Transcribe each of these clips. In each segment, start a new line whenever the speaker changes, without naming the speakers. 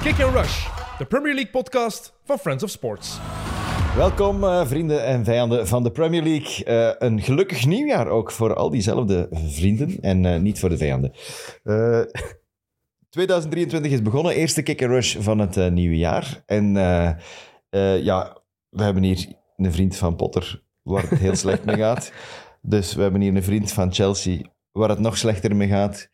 Kick and Rush, de Premier League podcast van Friends of Sports.
Welkom, eh, vrienden en vijanden van de Premier League. Eh, een gelukkig nieuwjaar ook voor al diezelfde vrienden en eh, niet voor de vijanden. Eh, 2023 is begonnen, eerste kick and rush van het eh, nieuwe jaar. En eh, eh, ja, we hebben hier een vriend van Potter waar het heel slecht mee gaat. Dus we hebben hier een vriend van Chelsea waar het nog slechter mee gaat.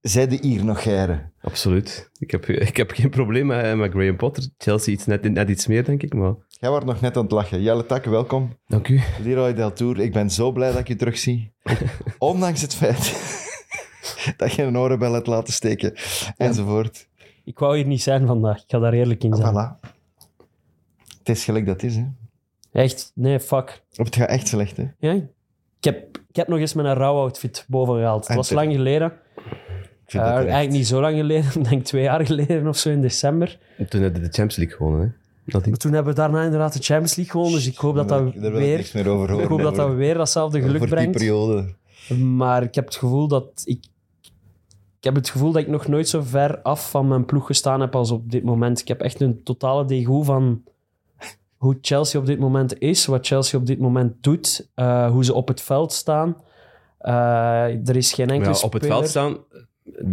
Zij de hier nog geren.
Absoluut. Ik heb, ik heb geen probleem met, met Graham Potter. Chelsea iets net, net iets meer, denk ik. Maar...
Jij wordt nog net aan het lachen. Jelle Tak, welkom.
Dank u.
Leroy Deltour, ik ben zo blij dat ik je terugzie. Ondanks het feit dat je een orenbel hebt laten steken, enzovoort.
Ik wou hier niet zijn vandaag. Ik ga daar eerlijk in zijn.
Ah, Voilà. Het is gelijk dat het is, hè.
Echt, nee, fuck.
Of het gaat echt slecht, hè.
Ja, ik, heb, ik heb nog eens mijn rouwoutfit boven gehaald. Het
En
was
terecht.
lang geleden.
Ik vind
Eh,
dat
eigenlijk
terecht.
niet zo lang geleden. Ik denk twee jaar geleden of zo in december.
Toen hebben we de Champions League gewonnen. Hè? Dat
Maar toen hebben we daarna inderdaad de Champions League gewonnen. Dus ik hoop dat dat
Daar wil ik niks
weer...
meer over horen.
Ik hoop dat dat
Voor-
weer datzelfde
voor
geluk
die
brengt.
periode.
Maar ik heb het gevoel dat ik... Ik heb het gevoel dat ik nog nooit zo ver af van mijn ploeg gestaan heb als op dit moment. Ik heb echt een totale degoe van hoe Chelsea op dit moment is, wat Chelsea op dit moment doet, eh, hoe ze op het veld staan. Eh, er is geen enkele
ja, op het
speler-
veld staan,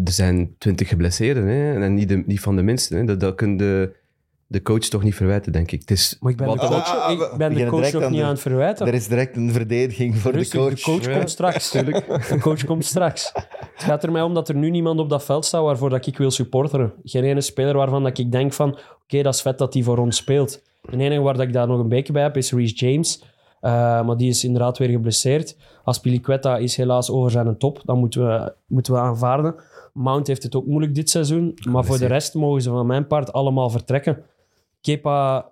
er zijn twintig geblesseerden. Hè? En niet, de, niet van de minste. Hè? Dat, dat kun de, de coach toch niet verwijten, denk ik. Het is
Maar ik ben
wat
de
Ah,
dan ook.
coach,
ah, ah,
ik
we
ben de
beginnen
coach
direct
nog
aan
niet
de-
aan het verwijten.
Er is direct een verdediging voor
Rustig,
de coach.
Ja.
komt straks. De coach komt straks. Het gaat er mij om dat er nu niemand op dat veld staat waarvoor dat ik wil supporteren. Geen ene speler waarvan dat ik denk van... Oké, dat is vet dat hij voor ons speelt. De enige waar dat ik daar nog een beetje bij heb is Reece James. Eh, maar die is inderdaad weer geblesseerd. Aspilicueta is helaas over zijn top. Dat moeten we, moeten we aanvaarden. Mount heeft het ook moeilijk dit seizoen. Maar voor de rest mogen ze van mijn part allemaal vertrekken. Kepa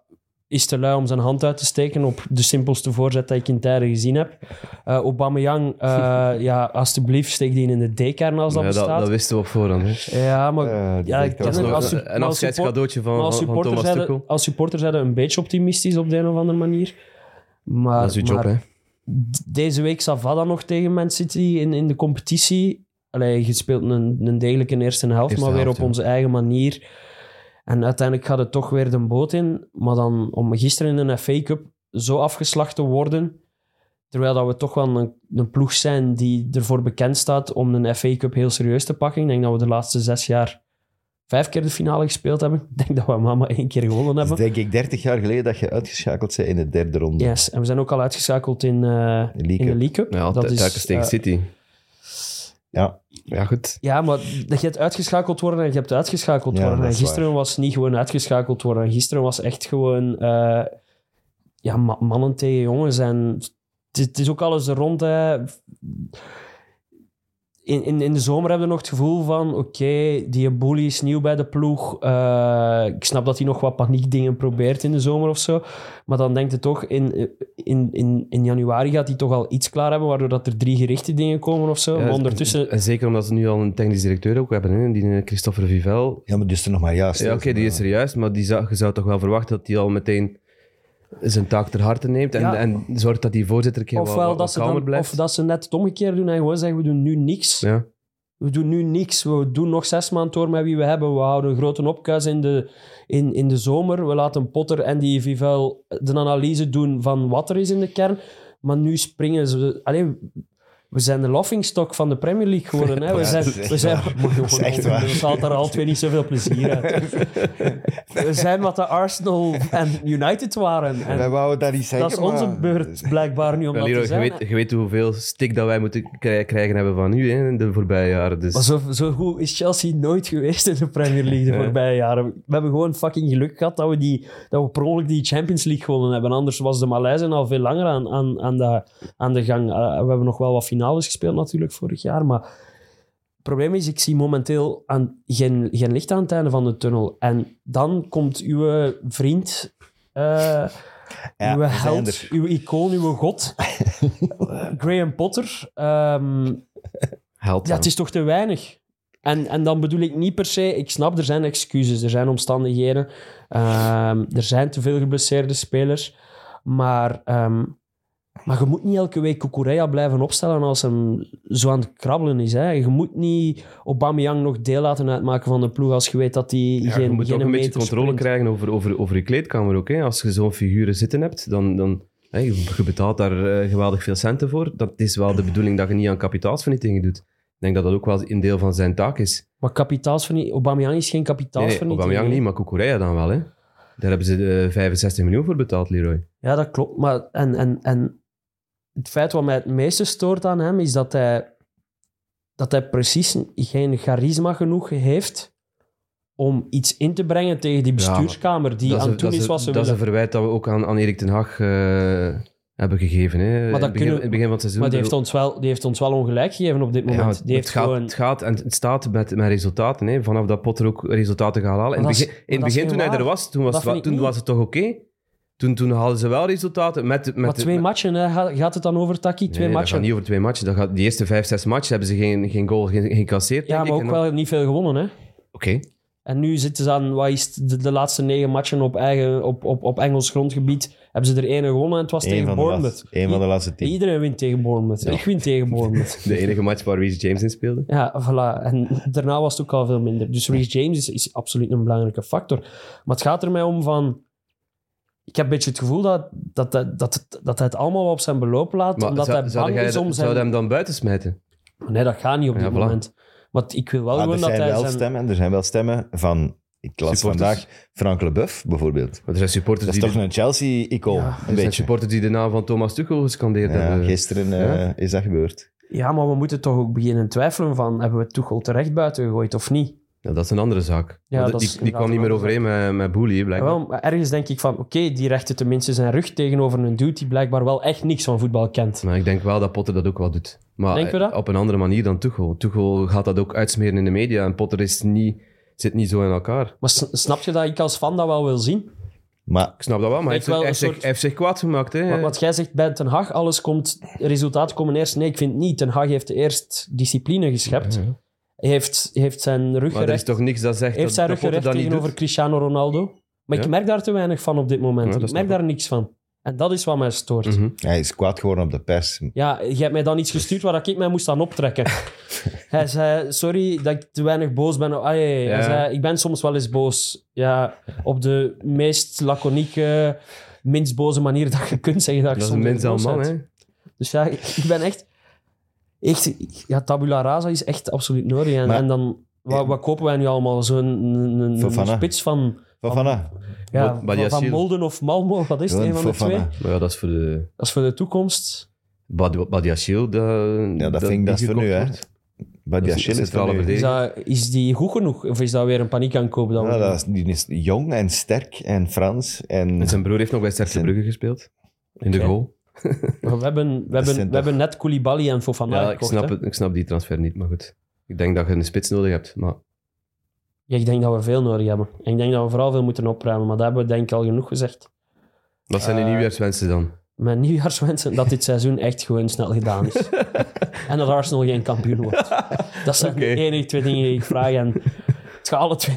is te lui om zijn hand uit te steken op de simpelste voorzet dat ik in tijden gezien heb. Eh Aubameyang, eh, ja, alsjeblieft, steek die in de D-kern als dat
Ja, dat,
bestaat.
dat wisten we op voorhand. Hè?
ja, maar...
Eh,
ja,
direct
ik ken
Dat is
het.
nog
Als,
een
als, support-
afscheidscadeautje van,
maar als
van, van
supporter
Thomas
zijn
Tuchel.
we- als supporter zijn we een beetje optimistisch op de een of andere manier. Maar,
Dat is uw job,
Ah, maar
hè.
deze week Savada nog tegen Man City in, in de competitie. Allee, je speelt een, een degelijke eerste helft,
Eerste
maar weer
helft,
op
ja.
onze eigen manier. En uiteindelijk gaat het toch weer de boot in. Maar dan om gisteren in een FA Cup zo afgeslacht te worden, terwijl dat we toch wel een, een ploeg zijn die ervoor bekend staat om een FA Cup heel serieus te pakken. Ik denk dat we de laatste zes jaar vijf keer de finale gespeeld hebben. Ik denk dat we mama één keer gewonnen
Dat is
hebben.
denk ik 30 jaar geleden dat je uitgeschakeld bent in de derde ronde.
Yes, en we zijn ook al uitgeschakeld in, eh,
De League
in de
Cup.
League Cup.
Ja, dat telkens tegen
eh,
City.
Ja.
Ja, goed.
Ja, maar dat je hebt uitgeschakeld worden en je hebt uitgeschakeld
Ja,
worden.
dat
En
is
gisteren was niet gewoon uitgeschakeld worden. Gisteren was echt gewoon eh, ja, ma- mannen tegen jongens. En het, is- het is ook alles er rond. Hè. In, in, in de zomer hebben we nog het gevoel van... Oké, die bully is nieuw bij de ploeg. Eh, ik snap dat hij nog wat paniekdingen probeert in de zomer of zo. Maar dan denkt het toch... In, in, in, in januari gaat hij toch al iets klaar hebben... waardoor dat er drie gerichte dingen komen of zo.
Ja,
maar ondertussen...
En zeker omdat ze nu al een technisch directeur ook hebben, hè? die eh, Christopher Vivel.
Ja, maar dus er nog maar juist.
Ja, oké, die
eh.
is er juist, maar die zou, je zou toch wel verwachten dat hij al meteen zijn taak ter harte neemt en,
Ja.
en zorgt dat die voorzitter een keer wat-
Ofwel
wat,
dat, ze
kalmer
dan,
blijft.
of dat ze net het omgekeerde doen en gewoon zeggen, we doen nu niks.
Ja.
We doen nu niks. We doen nog zes maanden door met wie we hebben. We houden een grote opkuis in de, in, in de zomer. We laten Potter en die Vivel de analyse doen van wat er is in de kern. Maar nu springen ze... Allee, we zijn de laughingstock van de Premier League geworden. Hè? We
Ja,
zijn...
dat is echt
We zijn
waar.
Maar
Dat is
gewoon,
echt waar.
Het haalt daar al twee niet zoveel plezier uit. We zijn wat de Arsenal en United waren. En
Wij wouden dat niet zeggen,
dat is onze
maar-
beurt blijkbaar nu om
Ja,
dat te
Leroy, je
zijn.
weet, je weet hoeveel stik dat wij moeten krij- krijgen hebben van u hè, in de voorbije jaren. Dus
Maar zo, zo goed is Chelsea nooit geweest in de Premier League de
Nee.
voorbije jaren. We hebben gewoon fucking geluk gehad dat we, die, dat we per ongeluk die Champions League gewonnen hebben. Anders was de Maleisen al veel langer aan, aan, aan, de, aan de gang. Eh, we hebben nog wel wat finales gespeeld natuurlijk vorig jaar. Maar het probleem is, ik zie momenteel aan, geen, geen licht aan het einde van de tunnel. En dan komt uw vriend... eh,
Ja,
uw
we zijn
held,
er.
uw icoon, uw god, eh, Graham Potter, ehm,
helpt
ja, het is toch te weinig. En, en dan bedoel ik niet per se, ik snap, er zijn excuses, er zijn omstandigheden, ehm, er zijn te veel geblesseerde spelers. Maar ehm, Maar je moet niet elke week Kukureya blijven opstellen als hem zo aan het krabbelen is. Hè. Je moet niet Aubameyang nog deel laten uitmaken van de ploeg als je weet dat hij
Ja,
geen,
je moet
geen
ook een beetje
meter
controle
sprint.
krijgen over, over, over je kleedkamer ook. Hè. Als je zo'n figuren zitten hebt, dan... dan hè, je je betaalt daar eh, geweldig veel centen voor. Dat is wel de bedoeling dat je niet aan kapitaalsvernietingen doet. Ik denk dat dat ook wel een deel van zijn taak is.
Maar kapitaalsvernietiging... Aubameyang is geen
Nee, nee,
kapitaalsvernietiging.
Aubameyang niet, maar Kukureya dan wel. Hè. Daar hebben ze eh, 65 miljoen voor betaald, Leroy.
Ja, dat klopt. Maar en, en, en het feit wat mij het meeste stoort aan hem is dat hij, dat hij precies geen charisma genoeg heeft om iets in te brengen tegen die
Ja, maar
bestuurskamer die
dat
aan
een-
het doen
dat
is
een-
wat ze
Dat is
willen.
een verwijt dat we ook aan, aan Erik ten Hag eh, hebben gegeven. Hè. in,
dat
het begin,
kunnen-
in het begin van het seizoen.
Maar die
Ik
heeft, ons wel, die heeft ons wel ongelijk gegeven op dit
bedoel,
moment.
ja,
die heeft
het, gaat,
gewoon...
het gaat en het staat met, met resultaten. Hè. Vanaf dat Potter ook resultaten gaat halen. In
Maar
het
dat is-
begin, in het
maar dat is
begin
geen
toen hij er
waar.
was, toen was,
Dat
het, wa-
vind ik
toen
niet.
was het toch oké? Toen, toen hadden ze wel resultaten. Met, met,
maar twee
met-
matchen, hè. Ga- gaat het dan over, Taki?
Nee,
Twee
dat
matchen.
gaat niet over twee matchen. Dat gaat, die eerste vijf, zes matchen hebben ze geen, geen goal ge- gecasseerd.
Ja,
denk
maar
ik.
ook
En dan-
wel niet veel gewonnen, hè.
Oké.
En nu zitten ze aan wat is het, de, de laatste negen matchen op, eigen, op, op, op Engels grondgebied. Hebben ze er één gewonnen en het was
Eén
tegen
van, de
Bournemouth.
laatste- één van de laatste tien.
Iedereen wint tegen Bournemouth.
Ja.
Ik win tegen Bournemouth.
De enige match waar Reece James in speelde.
Ja, voilà. En daarna was het ook al veel minder. Dus Reece James is, is absoluut een belangrijke factor. Maar het gaat er mij om van... Ik heb een beetje het gevoel dat, dat, dat, dat, dat hij het allemaal wel op zijn beloop laat,
Maar
omdat
zou-
hij
zou
bang
jij-
is om
Zou
zijn...
je hem dan buiten smijten?
Nee, dat gaat niet op
Ja,
dit
voilà. Ah, dus
moment. Want ik wil wel
Maar Ah,
gewoon
er
dat
zijn
hij
wel
zijn...
stemmen. Er zijn wel stemmen van. Ik las
Supporters.
vandaag Frank Leboeuf bijvoorbeeld.
Maar er zijn supporters
Dat is
die...
toch een Chelsea-icoon,
Dus Ja,
een
er zijn
beetje.
supporters die de naam van Thomas Tuchel gescandeerd
Ja,
hebben.
gisteren eh, is dat gebeurd.
Ja, maar we moeten toch ook beginnen twijfelen van... Hebben we Tuchel terecht buiten gegooid of niet?
Ja, Nou, dat is een andere zaak.
Ja,
Want
dat is
die die kwam
inderdaad
niet meer
een
overeen met, met Boelie, blijkbaar.
Jawel, maar ergens denk ik van... Oké, die rechten tenminste zijn rug tegenover een dude die blijkbaar wel echt niks van voetbal kent.
Maar ik denk wel dat Potter dat ook wel doet. Maar
Denken we dat?
op een andere manier dan Tuchel. Tuchel gaat dat ook uitsmeren in de media. En Potter is niet, zit niet zo in elkaar.
Maar s- snap je dat ik als fan dat wel wil zien?
Maar
Ik snap dat wel, maar hij
Lijkt
heeft, zich-
wel
hij
een
heeft zich-
soort-
hij heeft zich kwaad gemaakt. Hè.
Wat, wat jij zegt bij Ten Hag, alles komt, resultaten komen eerst. Nee, ik vind het niet. Ten Hag heeft eerst discipline geschept.
Ja.
Heeft, heeft zijn rug
maar er is
gerecht,
toch niks dat zegt
heeft
dat,
zijn
dat
rug
Potter
gerecht
dat niet
tegenover
doet?
Cristiano Ronaldo. Maar
Ja.
ik merk daar te weinig van op dit
Ja,
moment.
dat
ik
snap
merk
ik.
daar niks van. En dat is wat mij stoort.
Mhm.
hij is kwaad geworden op de pers.
Ja, je hebt mij dan iets gestuurd waar ik mij moest aan optrekken. hij zei, sorry dat ik te weinig boos ben. Ah, ja, ja, ja. Hij
Ja.
zei, ik ben soms wel eens boos. Ja, op de meest laconieke, minst boze manier dat je kunt zeggen dat ik
Dat is een
soms
mens aan
boos
man,
ben.
hè.
Dus ja, ik ik ben echt... echt ja, tabula rasa is echt absoluut nodig. En,
Maar-
en dan... Wat, wat kopen wij nu allemaal? Zo'n een- een- een
Fofana.
spits van,
Fofana.
ja,
Wat- Badiashile.
van, van Molden of Malmo. Wat is het?
Gewoon
Een van de twee?
Fofana.
Maar ja, dat is voor de...
Dat is voor de toekomst.
Bad- Badiachil, dat...
Ja, dat vind ik dat is voor nu, hè. Badiachil is
centrale
van nu.
Is,
verdediger.
dat, is die goed genoeg? Of is dat weer een paniekaankoop? Dat we
Ja,
doen?
dat is, die is jong en sterk en Frans. En
En zijn broer heeft nog bij Sterke
Zijn-
Brugge gespeeld. In de
Oké.
goal.
Maar we hebben, we hebben,
zijn
we hebben net Koulibaly en Fofana
Ja, ik
gekocht,
snap,
hè.
het, ik snap die transfer niet, maar goed. Ik denk dat je een spits nodig hebt. Maar
Ja, ik denk dat we veel nodig hebben. En ik denk dat we vooral veel moeten opruimen. Maar dat hebben we denk ik al genoeg gezegd.
wat zijn de
Eh,
nieuwjaarswensen dan?
Mijn nieuwjaarswensen dat dit seizoen echt gewoon snel gedaan is. en dat Arsenal geen kampioen wordt. Dat zijn
Oké.
de enige twee dingen die ik vraag. En het gaat alle twee,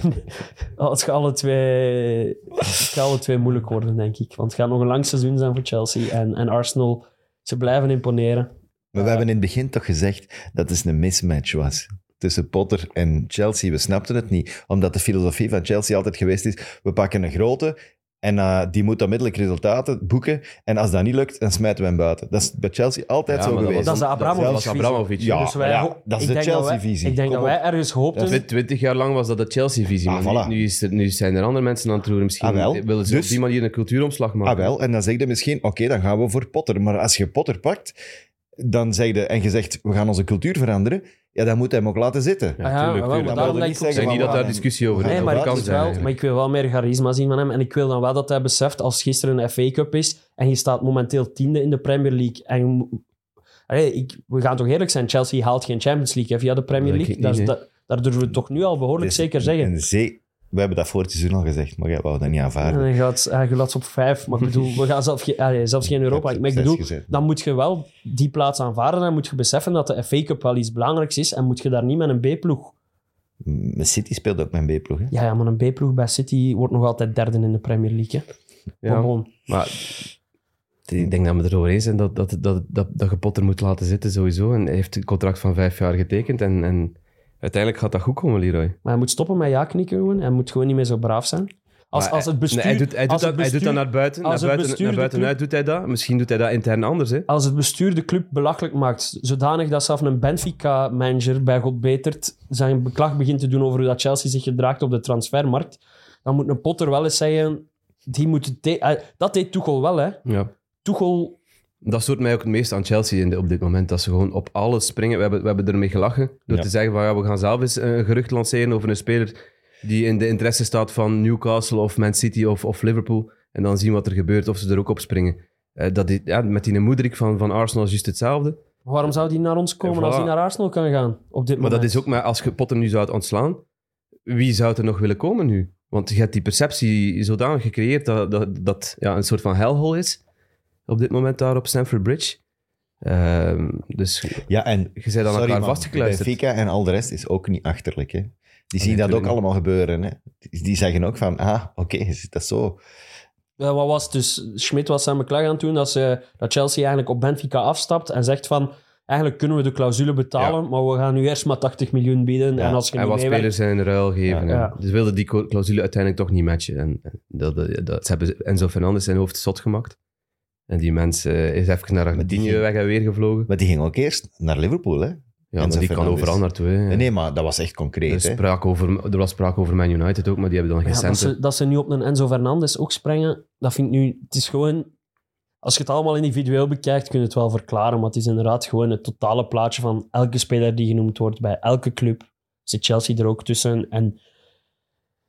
het gaat alle twee, het gaat alle twee moeilijk worden, denk ik. Want het gaat nog een lang seizoen zijn voor Chelsea. En, en Arsenal, ze blijven imponeren.
Maar we hebben in het begin toch gezegd dat het een mismatch was tussen Potter en Chelsea. We snapten het niet, omdat de filosofie van Chelsea altijd geweest is: we pakken een grote en eh, die moet onmiddellijk resultaten boeken. En als dat niet lukt, dan smijten we hem buiten. Dat is bij Chelsea altijd
Ja,
zo
maar
geweest.
Dat is de
Dat was
Abramovic-visie.
Abramovic.
Ja.
Dus wij,
maar
ho-
dat is
ik
de
denk dat wij-
Chelsea-visie.
Ik denk
Kom
dat wij ergens hoopten...
Twi- Twintig jaar lang was dat de Chelsea-visie.
Ah,
maar
voilà.
nu, nu is er- nu zijn er andere mensen aan het roeren. Misschien
Ah, wel.
willen ze
Dus-
op die manier een cultuuromslag maken.
Ah wel, en dan zeg je misschien, oké, dan gaan we voor Potter. Maar als je Potter pakt dan zeg je, en je zegt, we gaan onze cultuur veranderen, ja, dan moet hij hem ook laten zitten.
Ja,
Ah ja,
tuurlijk,
wel,
tuurlijk.
Dan
daarom
wil je niet
denk ik ook-
zeggen
Ik
van,
denk niet dat
we
daar
gaan-
discussie
we
over
gaan
is.
Nee,
hem
maar ik,
buiten
kan zijn
wil
zetten.
wel,
eigenlijk.
maar ik wil wel meer charisma zien van hem. En ik wil dan wel dat hij beseft, als gisteren een FA Cup is en je staat momenteel tiende in de Premier League. En je mo- Allee, ik, we gaan toch eerlijk zijn, Chelsea haalt geen Champions League hè, via de Premier
Dat denk
League.
ik
daar,
niet,
daar, daar durven we toch nu al behoorlijk
Dus-
zeker zeggen.
en ze- we hebben dat voor het seizoen al gezegd, maar jij wou dat niet
En
aanvaarden.
dan gaat hij laat ze op vijf. Maar ik bedoel, we gaan zelf geen- allee, zelfs geen Europa.
Je hebt
Maar ik
zes
bedoel,
gezet.
dan moet je wel die plaats aanvaarden. Dan moet je beseffen dat de FA Cup wel iets belangrijks is. En moet je daar niet met een B-ploeg.
M- City speelde ook mijn B-ploeg. hè?
Ja, ja, maar een B-ploeg bij City wordt nog altijd derde in de Premier League. Hè.
Ja,
Maar bon.
maar Ik denk dat we het erover eens zijn dat, dat, dat, dat, dat je Potter moet laten zitten sowieso. En hij heeft een contract van vijf jaar getekend. En, en uiteindelijk gaat dat goed komen, Leroy.
Maar hij moet stoppen met ja knikken gewoon. Hij moet gewoon niet meer zo braaf zijn. Als,
Maar
als het bestuur...
Nee, hij, doet, hij, doet
als
dat,
het
hij doet dat
bestuur-
naar buiten.
als
Naar
het
buiten,
bestuur
naar
de
buitenuit doet hij dat. Misschien doet hij dat intern anders. Hè.
als het bestuur de club belachelijk maakt, zodanig dat zelfs een Benfica-manager bij God Betert zijn beklag begint te doen over hoe dat Chelsea zich gedraagt op de transfermarkt, dan moet een Potter wel eens zeggen, die moet het te- eh, dat deed Tuchel wel, hè.
Ja.
Tuchel,
Dat stoort mij ook het meest aan Chelsea in de- op dit moment. Dat ze gewoon op alles springen. We hebben, we hebben ermee gelachen. Door
Ja.
te zeggen van ja, we gaan zelf eens eh, een gerucht lanceren over een speler die in de interesse staat van Newcastle of Man City of, of Liverpool. En dan zien wat er gebeurt of ze er ook op springen. Eh, dat die, ja, met die Moedrik van, van Arsenal is juist hetzelfde.
waarom zou die naar ons komen
Ja, voilà.
als hij naar Arsenal kan gaan op dit
Maar dat
moment?
is ook maar als je Potter nu zou ontslaan, wie zou er nog willen komen nu? Want je hebt die perceptie zodanig gecreëerd dat dat, dat ja, een soort van hellhole is op dit moment daar op Stamford Bridge. Ehm, dus
Ja, en
Je bent aan
Sorry,
elkaar
man.
vastgekluisterd.
Benfica en al de rest is ook niet achterlijk. Hè. Die zien dat
Ah, natuurlijk
ook
niet.
allemaal gebeuren. Hè. Die die zeggen ook van, ah, oké, is dat zo?
Ja, wat was het dus? Schmidt was zijn beklag aan het doen dat, ze, dat Chelsea eigenlijk op Benfica afstapt en zegt van... Eigenlijk kunnen we de clausule betalen, maar we gaan nu eerst maar 80 miljoen bieden.
Ja,
En als je
En
niet
wat
meewerkt-
spelers zijn in ruil geven.
Ja,
hè.
ja.
Dus wilden die co- clausule uiteindelijk toch niet matchen. En en dat, dat, dat- ze hebben Enzo Fernandes zijn hoofd zot gemaakt. En die mens eh, is even naar Argentinië
ging-
weg en weer gevlogen.
Maar die ging ook eerst naar Liverpool. Hè.
Ja,
Enzo
maar die kan
Fernandes.
overal naartoe. Hè.
Nee, maar dat was echt concreet.
er, is
hè.
Dus spraak over, er was spraak over Man United ook, maar die hebben dan geen
Ja, dat,
centen.
ze, dat ze nu op een Enzo Fernandes ook springen, dat vind ik nu... Het is gewoon... Als je het allemaal individueel bekijkt, kun je het wel verklaren. Maar het is inderdaad gewoon het totale plaatje van elke speler die genoemd wordt bij elke club. Zit Chelsea er ook tussen. En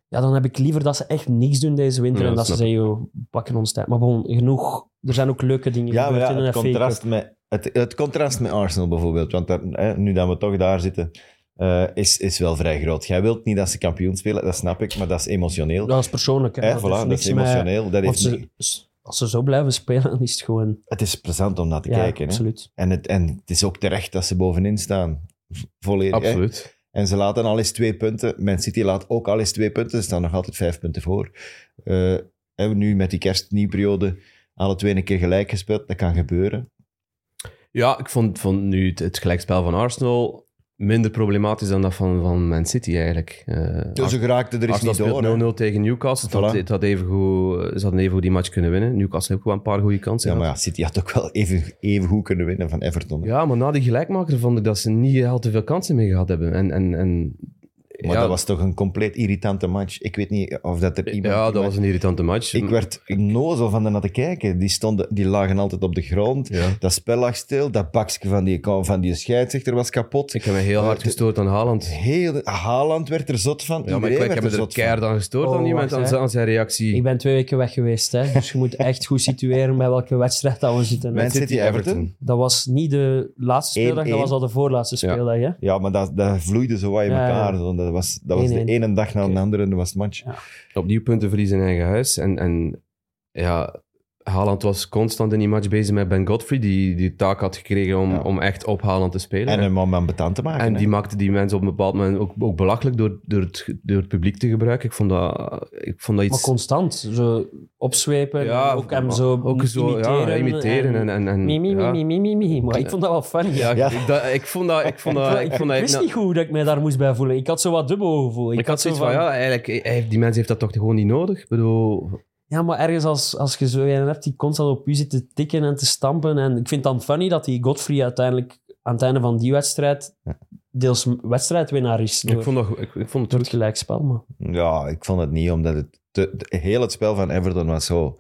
ja, dan heb ik liever dat ze echt niks doen deze winter.
Ja,
en dat
snap
ze zeggen, joh, we pakken ons tijd. Maar bon, genoeg. Er zijn ook leuke dingen
Ja, maar
gebeurd
ja,
in
het,
een FA Cup.
contrast met, het, het contrast met Arsenal bijvoorbeeld, want daar- hè, nu dat we toch daar zitten, eh, is, is wel vrij groot. Jij wilt niet dat ze kampioen spelen, dat snap ik, maar dat is emotioneel.
Dat is persoonlijk. Hè?
Hè,
dat
voilà,
heeft
dat
niks
is emotioneel. dat
Met, want
heeft
ze,
niet-
als ze zo blijven spelen, is het gewoon...
Het is plezant om naar te
Ja,
kijken. Hè?
absoluut.
En, het, en het is ook terecht dat ze bovenin staan. V- Volledig. hè.
Absoluut.
En ze laten al eens twee punten. Man City laat ook al eens twee punten. Ze staan nog altijd vijf punten voor. Eh, en we nu met die kerstnieuwperiode alle twee een keer gelijk gespeeld. Dat kan gebeuren.
Ja, ik vond, vond nu het, het gelijkspel van Arsenal minder problematisch dan dat van, van Man City eigenlijk. Eh,
Dus ze geraakten er is
Arsenal
niet door. hè.
speelt 0-0 tegen Newcastle. Het had,
Voilà.
het had even goed, ze hadden even goed die match kunnen winnen. Newcastle heeft ook wel een paar goede kansen
Ja, maar
gehad.
ja, City had ook wel even, even goed kunnen winnen van Everton. hè.
Ja, maar na die gelijkmaker vond ik dat ze niet al te veel kansen meer gehad hebben. En, en, en,
maar
ja,
dat was toch een compleet irritante match. Ik weet niet of dat er iemand...
ja, dat was een irritante match.
Ik werd nozel van naar te kijken. Die, stonden, die lagen altijd op de grond.
Ja.
Dat spel lag stil. Dat bakje van die, van die scheidsrechter was kapot.
ik heb me heel hard gestoord aan Haaland.
Heel, Haaland werd er zot van.
Ja, maar ik,
Iedereen werd
ik heb me
er
er
zot van.
keihard aan gestoord
Oh,
aan iemand,
wacht,
aan,
hè.
zijn- aan zijn
Ik
reactie.
ben twee weken weg geweest, hè, dus je moet echt goed situeren bij welke wedstrijd dat we zitten.
Man City, Everton.
Dat was niet de laatste speeldag,
1-1.
dat was al de voorlaatste
Ja.
speeldag. Hè?
Ja, maar dat, dat vloeide zo wat in
Ja, ja.
elkaar. zo. Dat was, dat was de
1-1.
ene dag na de andere en dat was het match.
Ja.
Opnieuw punten verliezen in eigen huis. En, en ja, Haaland was constant in die match bezig met Ben Godfrey, die die taak had gekregen om,
Ja.
om echt op Haaland te spelen.
En hem om aan betaald te maken.
En
hè.
die maakte die mensen op een bepaald moment ook, ook belachelijk door, door, het, door het publiek te gebruiken. Ik vond dat, ik vond dat
Maar
iets...
constant, zo opzwepen, en ook hem zo,
ook zo
imiteren.
Ja, imiteren en... en, en
Mie, mie,
ja.
mie, mie, mie, mie. Maar ik vond dat wel funny.
Ja,
Ja.
Ik, dat, ik vond dat... Ik, vond
Ik
dat,
vond-
ik, vond dat,
ik wist
nou,
niet goed dat ik mij daar moest bij voelen. Ik had zo wat dubbel gevoel.
ik had zoiets
zo
van, ja, eigenlijk, hij heeft- die mens heeft dat toch gewoon niet nodig? Ik bedoel...
Ja, maar ergens als, als je zo een hebt die constant op u zit te tikken en te stampen. En ik vind dan funny dat die Godfrey uiteindelijk aan het einde van die wedstrijd deels wedstrijdwinnaar is. Door,
Ik vond, dat, ik, ik vond
door
het
het
goed.
gelijkspel. Maar.
Ja, ik vond het niet, omdat het te- de- heel het spel van Everton was zo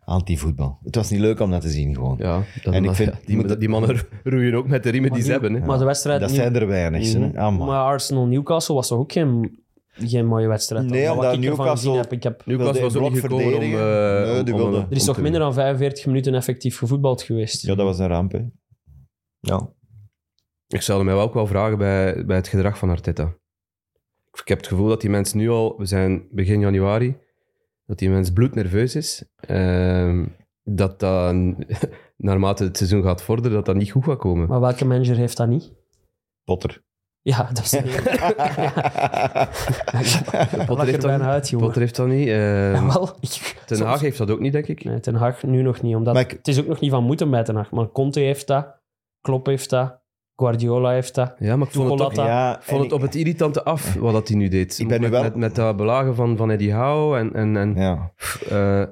anti-voetbal. Het was niet leuk om dat te zien, gewoon.
Ja, dat,
En ik
maar-
vind-
ja, die,
moet-
die mannen roeien ook met de riemen
Maar
die ze
nu-
hebben. Hè.
Maar de wedstrijd...
Dat
nu-
zijn er weinig. hè.
Mhm.
Ah, man.
maar Arsenal-Newcastle was toch ook geen, geen mooie wedstrijd?
Nee,
Wat
omdat
ik ervan
Newcastle-
gezien heb, ik heb...
Wilde
Newcastle was ook
blok
niet gekomen om...
verdedigen?
eh,
Nee, die
om- om-
wilde-
Er is
om
toch
te-
minder dan 45 minuten effectief gevoetbald geweest?
Ja, dat was een ramp, hè. Ja.
Ik stelde mij wel ook wel vragen bij, bij het gedrag van Arteta. Ik heb het gevoel dat die mens nu al, we zijn begin januari, dat die mens bloednerveus is. Ehm, dat dat, naarmate het seizoen gaat vorderen, dat dat niet goed gaat komen.
Maar welke manager heeft dat niet?
Potter.
Ja, dat is de enige.
heeft dat
Potter er bijna
niet.
uit, jongen.
Potter heeft dat niet. eh,
Wel,
Ten Haag heeft dat ook niet, denk ik.
Nee, Ten Hag nu nog niet. Omdat
Maar ik-
Het is ook nog niet van moeten bij Ten Hag. Maar Conte heeft dat, Klopp heeft dat, Guardiola heeft dat.
Ja, maar ik vond het,
Tuchel
toch,
had dat.
Ja,
ik vond het
en
op het irritante af wat dat hij nu deed.
Ik ben nu
met,
wel-
met, met dat belagen van, van Eddie Howe en... en, en
ik- Ja.
eh,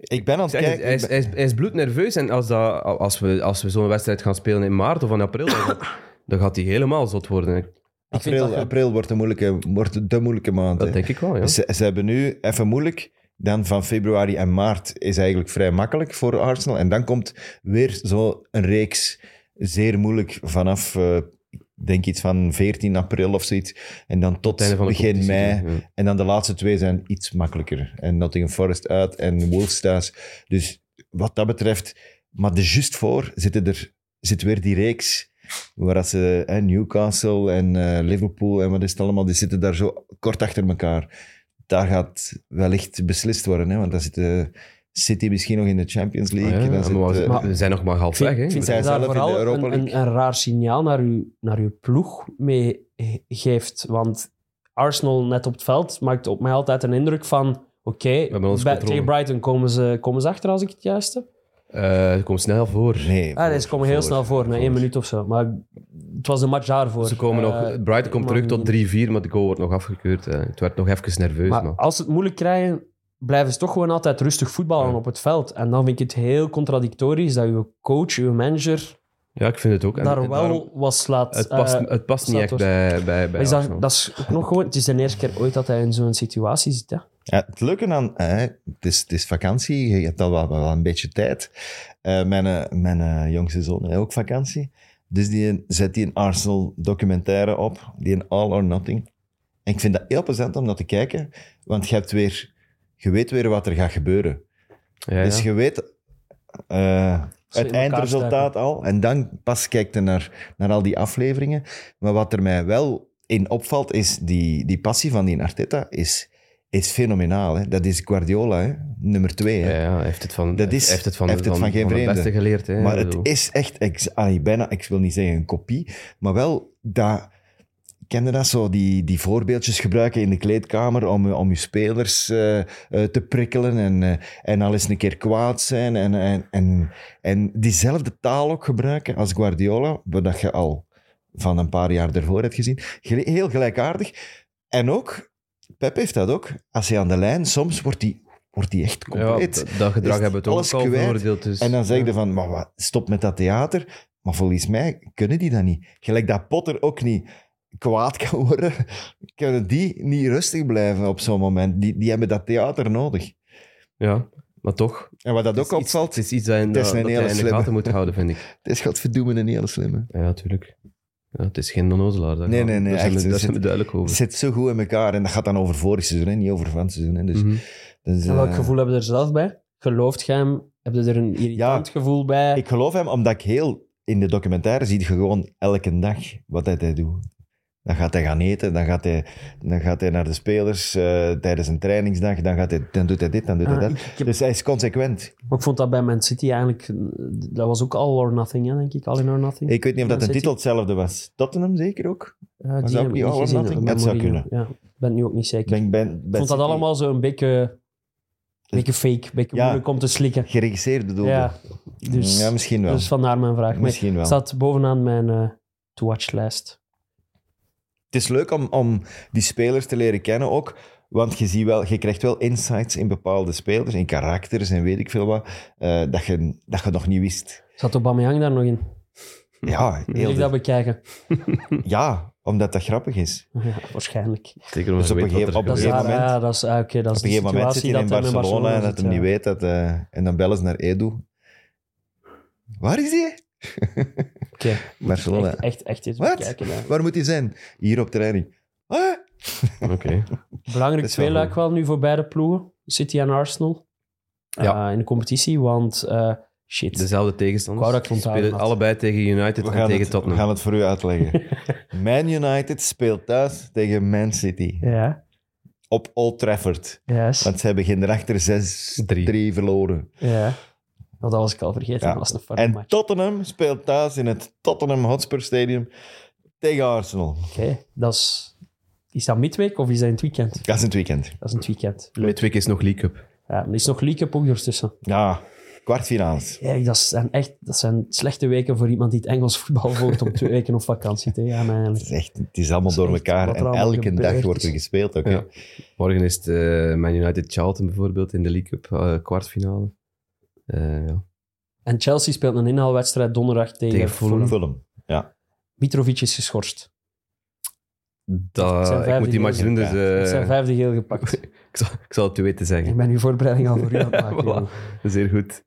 Ik ben aan het
Zeg het,
kijken.
hij, is, hij, is, hij is bloednerveus en als, dat, als we, als we zo'n wedstrijd gaan spelen in maart of in april, dan, gaat- dan gaat hij helemaal zot worden.
vind dat
april,
je-
april wordt de moeilijke, wordt de moeilijke maand. hè.
Dat denk ik wel, ja.
Ze, ze hebben nu even moeilijk. Dan van februari en maart is eigenlijk vrij makkelijk voor Arsenal. En dan komt weer zo'n reeks zeer moeilijk vanaf, eh, ik denk iets van 14 april of zoiets. En dan tot
Het einde van de
begin
competitie,
mei.
ja.
En dan de laatste twee zijn iets makkelijker. En Nottingham Forest uit en Wolves thuis. Dus wat dat betreft... Maar de just voor zitten er, zit weer die reeks waar dat ze... hè, Newcastle en eh, Liverpool en wat is het allemaal, die zitten daar zo kort achter elkaar. Daar gaat wellicht beslist worden, hè, want daar zit eh, City misschien nog in de Champions League.
Oh Ja,
en dan
maar
zit,
we-
eh,
maar-
we zijn nog maar
Ik
half
vind,
weg. hè.
ik vind
Zij
dat je daar
zelf in de
vooral
Europa
een,
League.
een, een raar signaal naar uw, naar uw ploeg mee ge- geeft. Want Arsenal net op het veld maakt op mij altijd een indruk van... Oké,
hebben ons
bij-
controle.
tegen Brighton komen ze, komen ze achter, als ik het juist heb.
Eh, het komt snel voor.
Nee,
Ah, nee, ze
voor-
komen heel
voor-
snel voor, na één minuut of zo. Maar het was de match daarvoor.
Ze komen
Eh,
nog, Brighton komt
maar-
terug tot 3-4, maar de goal wordt nog afgekeurd. eh. Het werd nog even nerveus.
Maar
maar-
als ze het moeilijk krijgen, blijven ze toch gewoon altijd rustig voetballen
Ja.
op het veld. En dan vind ik het heel contradictorisch dat uw coach, uw manager,
Ja, ik vind het ook. En-
daar
en
wel
daarom-
wat slaat.
het past,
Eh,
het past niet
staat
echt
door.
bij, bij, bij
maar is dat,
Arsenal.
dat is ook nog gewoon... Het is de eerste keer ooit dat hij in zo'n situatie zit, hè.
Ja, het leuke aan... eh, het, is, het is vakantie, je hebt al wel, wel een beetje tijd. Eh, mijn eh, mijn eh, jongste zoon heeft ook vakantie. Dus die zet die een Arsenal documentaire op, die een All or Nothing. En ik vind dat heel plezant om dat te kijken, want je, hebt weer, je weet weer wat er gaat gebeuren.
Ja, ja.
Dus je weet eh,
in
het
elkaar
eindresultaat al. En dan pas kijkt je naar, naar al die afleveringen. Maar wat er mij wel in opvalt, is die, die passie van die Arteta is, is fenomenaal. Hè? Dat is Guardiola, hè? nummer twee. Hè?
Ja, ja, hij heeft het van,
Dat
hij
is-
heeft het van,
hij heeft het van geen
het
vreemde.
beste geleerd. Hè.
maar
Ik
het
bedoel,
is echt, ex- allee, bijna, ik wil niet zeggen een kopie, maar wel dat... Ken je dat zo, die, die voorbeeldjes gebruiken in de kleedkamer om, je- om je spelers eh, eh, te prikkelen en, eh, en al eens een keer kwaad zijn en, en, en, en diezelfde taal ook gebruiken als Guardiola, wat dat je al van een paar jaar ervoor hebt gezien. Gel- Heel gelijkaardig. En ook, Pep heeft dat ook, als hij aan de lijn, soms wordt hij wordt die echt
ja,
compleet...
dat- dat gedrag
is
hebben we toch
alles
ook al
kwijt.
veroordeeld. Dus,
En dan zeg
ja.
je van, maar wat, stop met dat theater. Maar volgens mij kunnen die dat niet. Gelijk dat Potter ook niet kwaad kan worden, kunnen die niet rustig blijven op zo'n moment. Die, die hebben dat theater nodig.
Ja, maar toch.
En wat dat
Het
ook
is iets-
opvalt,
Het is iets dat, je in de-
Het is een
dat je
hele
in de
slimme.
gaten moet houden, vind ik.
het is godverdomme een hele slimme.
Ja, natuurlijk. Ja, het is geen nonnozelaar. daar
Nee,
gaan-
nee, nee,
Daar zijn,
echt, dus
we, daar
het
zijn we
zit-
duidelijk
Het
over.
zit zo goed in elkaar. En dat gaat dan over vorig seizoen, hè, niet over van het seizoen. Hè. Dus,
Mhm.
dat is,
En welk
eh,
gevoel hebben we er zelf bij? Gelooft jij hem? Heb je er een irritant gevoel bij?
Ik geloof hem, omdat ik heel... In de documentaire zie je gewoon elke dag wat dat hij doet. Dan gaat hij gaan eten, dan gaat hij, dan gaat hij naar de spelers eh, tijdens een trainingsdag, dan, gaat hij, dan doet hij dit, dan doet hij
Ah,
dat.
ik- ik heb-
Dus hij is consequent.
Maar ik vond dat bij Man City eigenlijk... eh, Dat was ook all or nothing, hè, denk ik. All in or nothing.
Ik weet niet of dat
Dan
de
zit
titel hetzelfde was. Tottenham zeker ook?
Eh, die
dat ook
heb ik
niet all or
gezien,
nothing?
eh, bij
Dat zou
Mourinho. Ja, ik ben het nu ook niet zeker.
Ik denk bij, bij
Ik vond dat
City
allemaal zo een beetje, een beetje fake, een beetje
Ja.
moeilijk om te slikken.
Geregisseerd bedoelde.
Ja,
Ja,
dus,
misschien wel.
dus vandaar mijn vraag. Maar
Misschien wel.
Het staat bovenaan mijn eh, to-watch-lijst.
Het is leuk om, om die spelers te leren kennen ook. Want je, ziet wel, je krijgt wel insights in bepaalde spelers, in karakters en weet ik veel wat, eh, dat, je, dat je nog niet wist.
Zat Aubameyang daar nog in?
Ja, heel
Wil ik
de-
dat bekijken?
Ja, omdat dat grappig is.
Ja, waarschijnlijk.
Zeker omdat
Dus
je
op
weet
een gegeven-
wat er
op een
Dat is,
gebeurt.
daar,
gegeven moment-
ja, dat is, ah, oké, dat is
Op een
de
gegeven moment zit
situatie
hij in
dat hij met
Barcelona,
Barcelona
en dat
zit,
hij niet
ja.
weet dat... eh, en dan bellen ze naar Edu. Waar is hij?
Oké.
Barcelona.
Echt, echt, echt eens
Wat?
bekijken. ja.
Waar moet hij zijn? Hier op training. Ah,
Oké.
Belangrijk
Dat is wel
tweeluik
goed.
wel nu voor beide ploegen. City en Arsenal.
Ja.
Eh, in de competitie, want eh, shit.
Dus-
Dezelfde
Ik wou dat
tegenstanders.
ik
Ze
het onthouden
spelen
had.
allebei tegen United
we,
en
gaan
tegen
het, we
Tottenham.
gaan het voor u uitleggen. Man United speelt thuis tegen Man City.
ja,
Op Old Trafford.
yes.
Want ze hebben geen erachter 6-3
Drie.
verloren.
Ja. Nou, dat was ik al vergeten.
Ja.
Dat was een farm
En
match.
Tottenham speelt thuis in het Tottenham Hotspur Stadium tegen Arsenal.
Oké, dat is... Is dat midweek of is dat in het weekend?
Dat is het weekend.
Dat is in het weekend.
Midweek is nog League Cup.
Ja, er is nog League Cup ook ertussen.
Ja, kwartfinales.
Ja, dat zijn echt dat zijn slechte weken voor iemand die het Engels voetbal volgt om twee weken op vakantie te gaan eigenlijk.
Het is, echt, het is allemaal
Dat is
door
echt
elkaar
wat er
en
allemaal
elke
gebeurd
dag
is.
wordt er gespeeld. Ook,
Ja.
hè.
Morgen is het eh, Man United Charlton bijvoorbeeld in de League Cup eh, kwartfinale. Eh, ja.
En Chelsea speelt een inhaalwedstrijd donderdag tegen,
Tegen Fulham.
Fulham.
Fulham.
Mitrovic is geschorst. Het zijn
Dat, ik
vijf
moet die match doen,
minuten.
dus eh,
Het zijn vijfde geel gepakt.
ik, zal, ik zal het u weten zeggen.
Ik ben uw voorbereiding al voor u aan het maken.
Voilà.
jongen.
Zeer goed.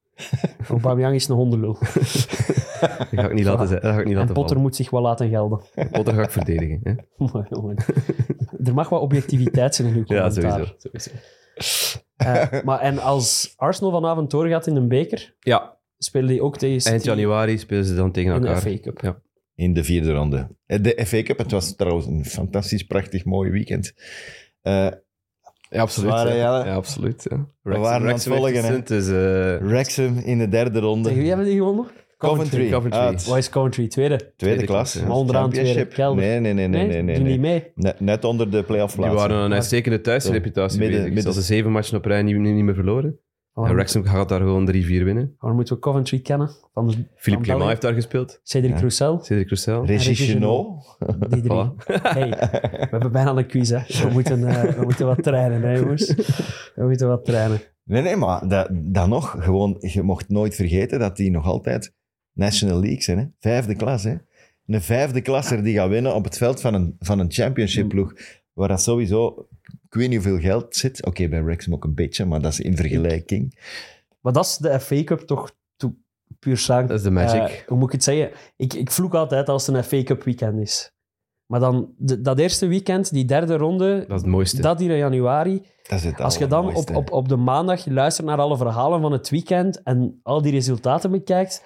Aubameyang is een hondenlul.
Dat ga ik niet laten, zeggen. dat ga ik niet
En
laten
Potter moet zich wel laten gelden.
vallen. Potter ga ik verdedigen. Hè?
Maar, jongen, er mag wat objectiviteit zijn in uw
Ja,
commentaar.
sowieso. sowieso.
Eh, maar en als Arsenal vanavond doorgaat in een beker,
Ja,
spelen die ook tegen
eind
City
januari spelen ze dan tegen
in de
elkaar.
FA Cup.
Ja.
In de vierde ronde. Eh, De FA Cup, het was trouwens een fantastisch, prachtig, mooi weekend. Eh,
Ja, absoluut.
Zware
eh,
ja.
jaren.
Ja, absoluut. Ja.
waren aan het
werd
volgen, hè.
gezond, dus, eh,
Wrexham in de derde ronde.
Tegen wie hebben die gewonnen?
Coventry.
Coventry.
Uit.
Wat is Country? Tweede?
Tweede
Tweede
klas.
klasse, ja.
Maar onderaan
Championship.
tweede, kelder.
Nee, nee, nee. nee, nee, nee,
Doen
nee.
die mee?
Net, net onder de playoff
Die
plaatsen.
waren een uitstekende
Midden-
thuisreputatie bezig.
midden-
Ze hadden zeven matchen op rij niet, niet niet meer verloren. En
Waarom,
Wrexham gaat daar gewoon 3-4 winnen.
waarom moeten we Coventry kennen? Van de-
Philippe
België.
Clément heeft daar gespeeld.
Cedric
Ja.
Roussel?
Cedric Roussel.
Regis
Regis
Chenot.
Die drie. Hey, we hebben bijna een quiz, hè. We moeten, eh, we moeten wat trainen, hè, jongens. We moeten wat trainen.
Nee, nee, maar dat, dan nog. Gewoon, je mocht nooit vergeten dat die nog altijd National League zijn. Hè? Vijfde klas, hè. Een vijfde klasser die gaat winnen op het veld van een, van een championship ploeg. Waar dat sowieso, ik weet niet hoeveel geld zit. Oké, bij Wrexham ook een beetje, maar dat is in vergelijking.
Maar dat is de FA Cup toch to- puur zang.
Dat is de magic.
Eh, hoe moet ik het zeggen? Ik, ik vloek altijd als het een FA Cup weekend is. Maar dan de- dat eerste weekend, die derde ronde,
dat is het mooiste.
dat hier in januari.
Dat is het
Als je dan op,
allermooiste.
op, op de maandag luistert naar alle verhalen van het weekend en al die resultaten bekijkt,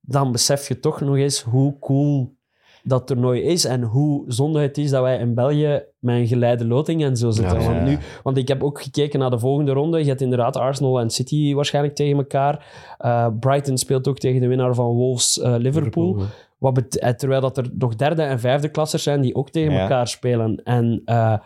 dan besef je toch nog eens hoe cool dat toernooi is en hoe zonde het is dat wij in België met een geleide loting en zo zitten.
Ja,
want,
ja.
Nu, want ik heb ook gekeken naar de volgende ronde. Je hebt inderdaad Arsenal en City waarschijnlijk tegen elkaar. Eh, Brighton speelt ook tegen de winnaar van Wolves eh, Liverpool. Wat bet- eh, terwijl dat er nog derde en vijfde klassers zijn die ook tegen
Ja.
elkaar spelen. En eh,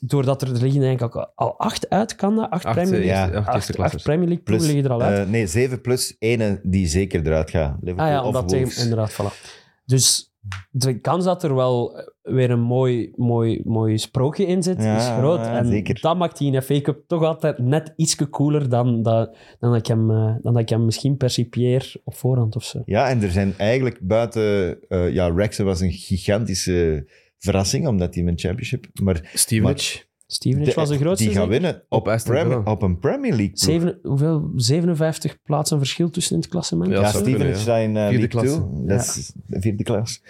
doordat er, er liggen eigenlijk al, al acht uit, kan dat? Acht,
Acht,
Premier
eh,
League,
eerste- acht
acht-
eerste
acht
klassers.
Premier League ploegen
Plus,
liggen er al uit.
eh, nee, 7 plus 1 die zeker eruit gaat. Liverpool
ah ja,
eh, of
omdat
Wolves.
tegen, inderdaad, voilà. Dus de kans dat er wel eh, weer een mooi, mooi, mooi sprookje in zit,
Ja,
is groot.
ja,
En
zeker.
dat maakt die in FA Cup toch altijd net ietsje cooler dan, dat, dan, dat, ik hem, eh, dan dat ik hem misschien percipieer op voorhand of zo.
Ja, en er zijn eigenlijk buiten... eh ja, Wrexham was een gigantische verrassing, omdat die met championship... Maar
Stevenage.
Stevenage
de-
was de grootste.
die gaan
zeker?
winnen op,
Op Aston
Prem-
Villa.
op een Premier League ploeg.
Zeven, hoeveel, 57 plaatsen verschil tussen in het klassement?
Ja,
Ja,
dat
Zo.
zou kunnen,
Stevenage
ja.
staat in eh,
Vierde
League
klasse.
Two. Dat is de vierde klas.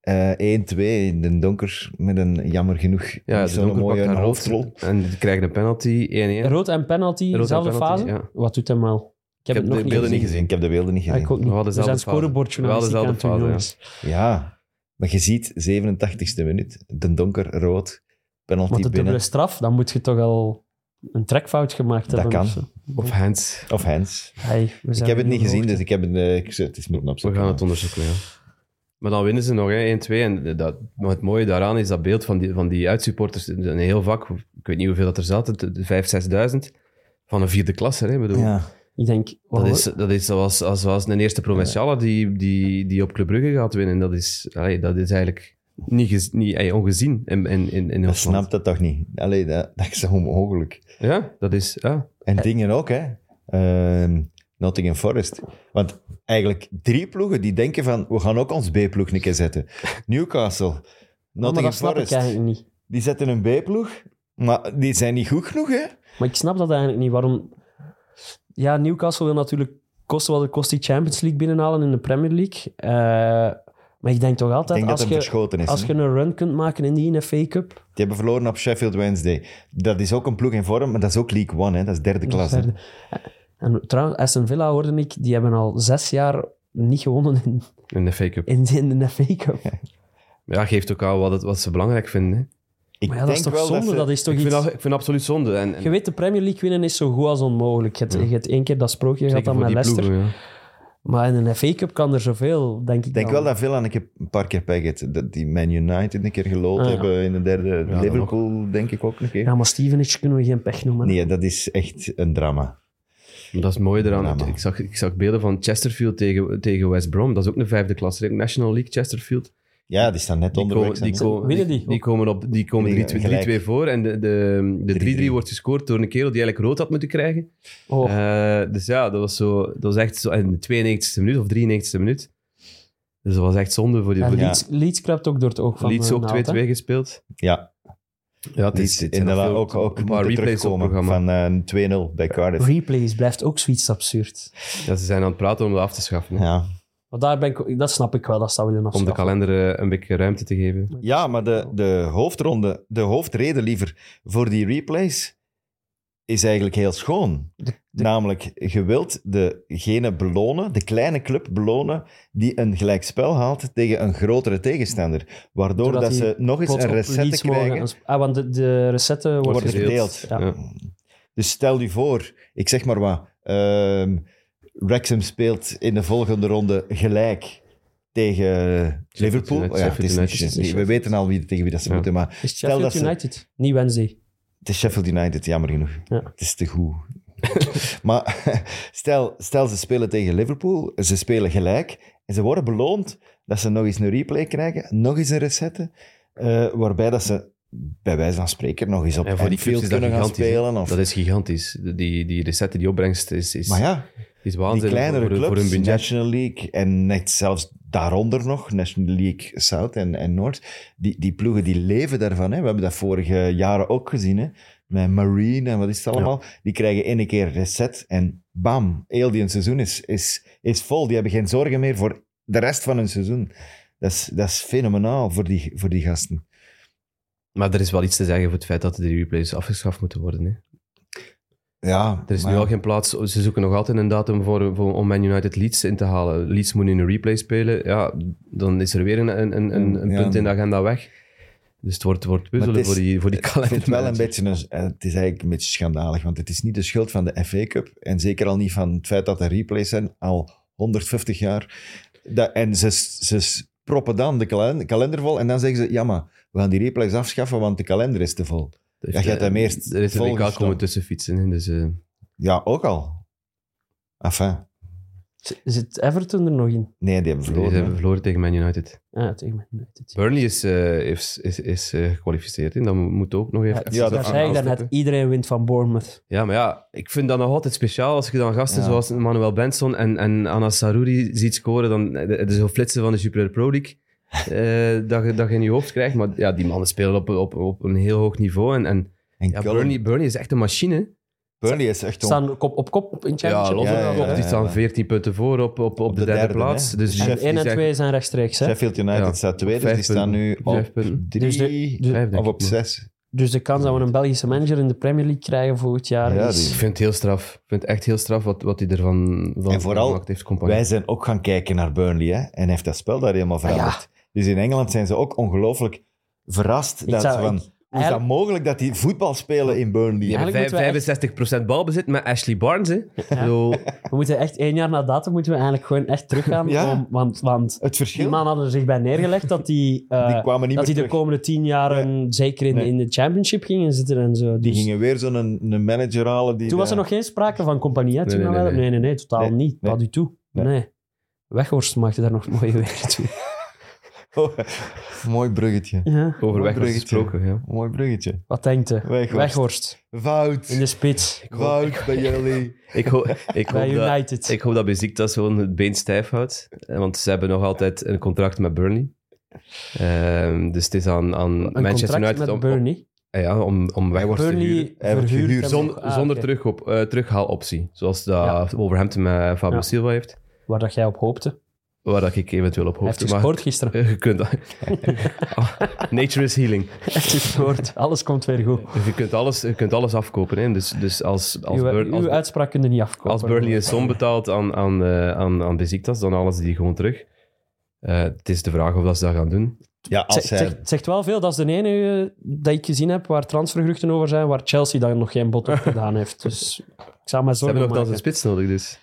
Eh 1-2 in de donker, met een jammer genoeg
Ja,
niet
de
zo'n
donker
mooie
pakt haar
hoofdrol.
rood. En die krijgen een penalty. 1-1.
Rood en penalty,
en
dezelfde
penalty,
fase?
ja.
Wat doet hem wel? Ik
heb
heb het nog
de
niet
beelden
gezien.
niet
gezien. Ik heb de beelden niet
Ah,
gezien.
ik ook niet.
We hadden
We zijn
dezelfde fase.
scorebordjournalistiek
We
aan
hadden
het doen,
dezelfde
jongens.
Ja, maar je ziet 87ste minuut, de donker rood,
Want
penalty
de dubbele
binnen.
straf, dan moet je toch al een trekfout gemaakt
Dat
hebben.
kan.
of zo.
Of Hens.
Of Hens.
Hey, we
Ik
zijn
heb het
op
niet gezien,
hoogte.
dus ik heb het, eh, ik, zou- het is moeten
We
opzoeken.
gaan het onderzoeken, ja. Maar dan winnen ze nog, hè, 1-2. En dat, maar het mooie daaraan is dat beeld van die, van die uitsupporters. Een heel vak, ik weet niet hoeveel dat er zaten, de- de 5.000, 6.000 van een vierde klasse. Hè, Ik bedoel,
Ja.
Ik denk,
Dat
wow,
is, dat is zoals, als- zoals een eerste provinciale die, die, die op Club Brugge gaat winnen. Dat is, allee, dat is eigenlijk niet, gez- niet allee, ongezien in, in, in, in
Dat
ons land.
snapt dat toch niet? Allee, dat, dat is onmogelijk.
Ja, dat is... Ja.
En
Eh.
dingen ook, hè. Ehm, Nottingham Forest. Want eigenlijk drie ploegen die denken van, we gaan ook ons B-ploeg een keer zetten. Newcastle,
maar
Nottingham
dat snap ik
Forest.
eigenlijk niet.
Die zetten een B-ploeg, maar die zijn niet goed genoeg, hè.
Maar ik snap dat eigenlijk niet. Waarom... Ja, Newcastle wil natuurlijk kosten wat het kost die Champions League binnenhalen in de Premier League. Eh, maar ik denk toch
Ik
altijd,
denk dat
als
hem
je,
verschoten is.
als
hè.
je een run kunt maken in die FA Cup,
Die hebben verloren op Sheffield Wednesday. Dat is ook een ploeg in vorm, maar dat is ook League One, hè. Dat is derde
Dat is
klasse.
derde. En trouwens, Aston Villa hoorde ik, die hebben al zes jaar niet gewonnen in,
In de fake-up.
in, in de FA Cup.
Ja, geeft ook aan wat, het, wat ze belangrijk vinden. Hè.
Ik
Maar ja, dat is
denk
toch
wel
zonde? Dat,
ze-
is toch
Ik, vind
iets...
dat, ik vind dat absoluut zonde. En, en
Je weet, de Premier League winnen is zo goed als onmogelijk. Je hebt, je hebt één keer dat sprookje gehad
zeker
aan
voor
met
die
Leicester.
ploegen, ja.
Maar in een FA Cup kan er zoveel, denk ik
Ik denk
dan.
wel dat veel aan. Ik heb een paar keer Paget, dat die Man United een keer gelood
Ah, ja.
hebben in de derde.
dan
Liverpool, denk ik ook een keer.
Ja, maar Stevenage kunnen we geen pech noemen.
Nee, dat is echt een drama.
Maar dat is mooi eraan.
Ja, man.
ik, zag, ik zag beelden van Chesterfield tegen, tegen West Brom. Dat is ook een vijfde klasse. National League Chesterfield.
Ja, die staan net
Die,
onder
komen-
Wrexham.
die, komen-
Winnen die
die, die
ook?
komen, op, die komen
Die
3-2
gelijk.
3-2 voor. En de- de de 3-3
3-3.
wordt gescoord door een kerel die eigenlijk rood had moeten krijgen.
Oh,
Eh, dus ja, dat was, zo, dat was echt zo in de 92e minuut of 93e minuut. Dus dat was echt zonde voor die
en
voor die-
Leeds, Leeds kruipt ook door het oog van
Leeds
eh,
ook
Naald, hè.
2-2 gespeeld.
Ja,
Ja, het
die
het
in de
zijn
la-
nog
ook,
veel-
ook
een paar
moeten
replays op het
terugkomen
programma.
van eh, 2-0 bij Cardiff.
Replays blijft ook zoiets absurd.
Ja, ze zijn aan het praten om dat af te schaffen. hè.
Ja.
Maar daar ben ik, dat snap ik wel, dat zou willen
Om de
afschaffen.
kalender eh, een beetje ruimte te geven.
ja, maar de, de hoofdronde, de hoofdreden liever voor die replays is eigenlijk heel schoon. Namelijk, je wilt degene belonen, de kleine club belonen, die een gelijkspel haalt tegen een grotere tegenstander. Waardoor
Zodat
dat
die
ze nog eens
Plots
een
op
recette
Leeds mogen
krijgen.
aansp- Ah, want de, de recette wordt,
worden
gedeeld.
gedeeld.
Ja.
Ja.
Dus stel je voor, ik zeg maar wat, ehm Wrexham speelt in de volgende ronde gelijk tegen Liverpool. Oh
United,
ja, het
Sheffield
is
United.
niet- het is niet- we weten al wie, tegen wie dat ze
Ja.
moeten, maar
Is
Stel dat
Sheffield
ze-
United, niet Wednesday.
het is Sheffield United, jammer genoeg.
Ja.
Het is te goed. maar stel, stel ze spelen tegen Liverpool, ze spelen gelijk en ze worden beloond dat ze nog eens een replay krijgen, nog eens een recette, eh, waarbij dat ze bij wijze van spreken nog eens op
En voor die clubs
Anfield
is dat
kunnen gaan
gigantisch. hè.
spelen. Of...
Dat is gigantisch. Die, die recette, die opbrengst, is, is,
Maar ja,
is
die
waanzinnig
kleinere
voor, voor-
clubs,
voor hun budget.
National League en net zelfs daaronder nog, National League South en, en Noord, die, die ploegen die leven daarvan. Hè. We hebben dat vorige jaren ook gezien, hè. met Marine en wat is het allemaal. Die krijgen één keer reset en bam, heel die een seizoen is, is, is vol. Die hebben geen zorgen meer voor de rest van hun seizoen. Dat is, dat is fenomenaal voor die, voor die gasten.
Maar er is wel iets te zeggen voor het feit dat de replays afgeschaft moeten worden. Hè.
Ja,
Er is
maar
nu
ja.
al geen plaats. Ze zoeken nog altijd een datum voor, voor, om Man United Leeds in te halen. Leeds moet in een replay spelen. Ja, dan is er weer een, een, een, een een
Ja.
punt in de agenda weg. Dus het wordt, wordt
Maar
puzzelen
het is-
voor die, voor die
Ik vind
kalender.
het wel een beetje, een, eh, het is eigenlijk een beetje schandalig, want het is niet de schuld van de FA Cup en zeker al niet van het feit dat er replays zijn, al 150 jaar. Dat, en ze, ze proppen dan de kalen- kalender vol en dan zeggen ze, ja maar, we gaan die replays afschaffen, want de kalender is te vol. Ja, je hebt hem eerst
Er is een WK
volgestopt.
eh, komen tussen fietsen. hè, Dus, eh,
Ja, ook al. Enfin,
Z- Zit Everton er nog in?
nee, die hebben
ze
verloren.
hebben
hè.
verloren tegen Man United.
Ah, tegen Man United.
Burnley is, eh, is, is, is eh, gekwalificeerd. Hè. Dat mo- moet ook nog even.
Ja,
Ja,
daar
dat-
zei ik daarnet, iedereen wint van Bournemouth.
Ja, maar ja, ik vind dat nog altijd speciaal als je dan gasten
Ja.
zoals Manuel Benson en, en Anna Saruri ziet scoren. Dan, het is een flitsen van de Super Pro League eh, dat, je, dat je in je hoofd krijgt. Maar ja, die mannen spelen op, op, op een heel hoog niveau. En, en
En
ja,
Cullen-
Burnley, Burnley is echt een machine.
Burnley is echt... on-
Staan kop op kop in
Ja,
Championship.
los
Ja,
op
ja,
kop.
ja,
Die
ja,
staan
ja.
14 punten voor op, op, op de, derde, plaats.
hè.
Dus die-
Chef-
en
die
1 en
zijn
2 zijn rechtstreeks. Hè?
Sheffield United
Ja.
staat tweede,
Vijf
die staan
punten.
nu
Vijf
op
punten.
drie
Dus de-
vijf, denk
of
ik,
op
maar.
zes.
Dus de kans dat we een Belgische manager in de Premier League krijgen volgend jaar
Ja,
is...
die-
Ik vind het heel straf. Ik vind het echt heel straf wat, wat hij ervan van
En vooral,
gemaakt heeft. Compagnie.
Wij zijn ook gaan kijken naar Burnley hè, en heeft dat spel daar
Ah,
helemaal veranderd. Dus in Engeland zijn ze ook ongelooflijk verrast. Dat
zou-
ze van,
ik-
hoe is dat
eigenlijk-
mogelijk dat die voetbal spelen in Burnley?
Die hebben
Eigenlijk moeten we
vijf- 65% balbezit met Ashley Barnes. Hè. Zo,
We moeten echt één jaar na datum moeten we eigenlijk gewoon echt teruggaan.
Ja.
om- want, want
Het
die
verschil,
man hadden er zich bij neergelegd dat die, eh,
die kwamen niet
dat
meer
die de
terug.
komende tien jaar zeker in,
Nee.
in de championship gingen zitten en zo.
Die
Dus
gingen weer zo'n een, een manager halen. Die
toen was er
daar-
nog geen sprake van compagnie. hè,
Nee,
toen
nee,
al
nee,
wel.
nee.
nee, nee, nee, totaal
Nee,
niet.
nee.
Pas u toe.
Nee.
Nee. Weghorst maakte daar nog mooie werk toe.
Oh, mooi bruggetje.
Ja.
overweg was
bruggetje.
gesproken. Ja.
Mooi bruggetje.
Wat denkt u?
Weghorst. Wout.
In de spits.
Wout bij jullie.
Ik, ho- ik,
bij
hoop dat,
United.
ik hoop dat Besiktas gewoon het been stijf houdt. Eh, Want ze hebben nog altijd een contract met Burnley. Ehm, dus het is aan, aan
een
Manchester
contract
United
met
om, om,
Burnley.
eh, ja, om, om weg te huren.
Burnley
Hij wordt
verhuurt
gehuurd.
hem.
Zon-
Ah,
zonder
oké.
terugop, eh, terughaaloptie. Zoals dat
Ja.
Wolverhampton met Fabio
Ja.
Silva heeft.
Waar dat jij op hoopte. Hij
Waar dat ik eventueel op
heeft
hoopte. Maar,
gescoord gisteren.
eh, je kunt, Ah, nature is healing.
Hij heeft gescoord. Alles komt weer goed.
Dus Je kunt alles, je kunt alles afkopen. Hè. Dus, dus als, als,
uw,
Burn-
uw
als,
uitspraak kun je niet afkopen.
Als Burnley een som betaalt aan, aan, eh, aan, aan Besiktas, dan halen ze die gewoon terug. Eh, het is de vraag of dat ze dat gaan doen.
Ja,
Het
als
zegt,
zij...
zegt, zegt wel veel. Dat is de eh, enige dat ik gezien heb waar transfergeruchten over zijn, waar Chelsea daar nog geen bod op gedaan heeft. Dus Ik zou mij
Ze
zorgen
hebben nog dan
maken.
zijn spits nodig, dus.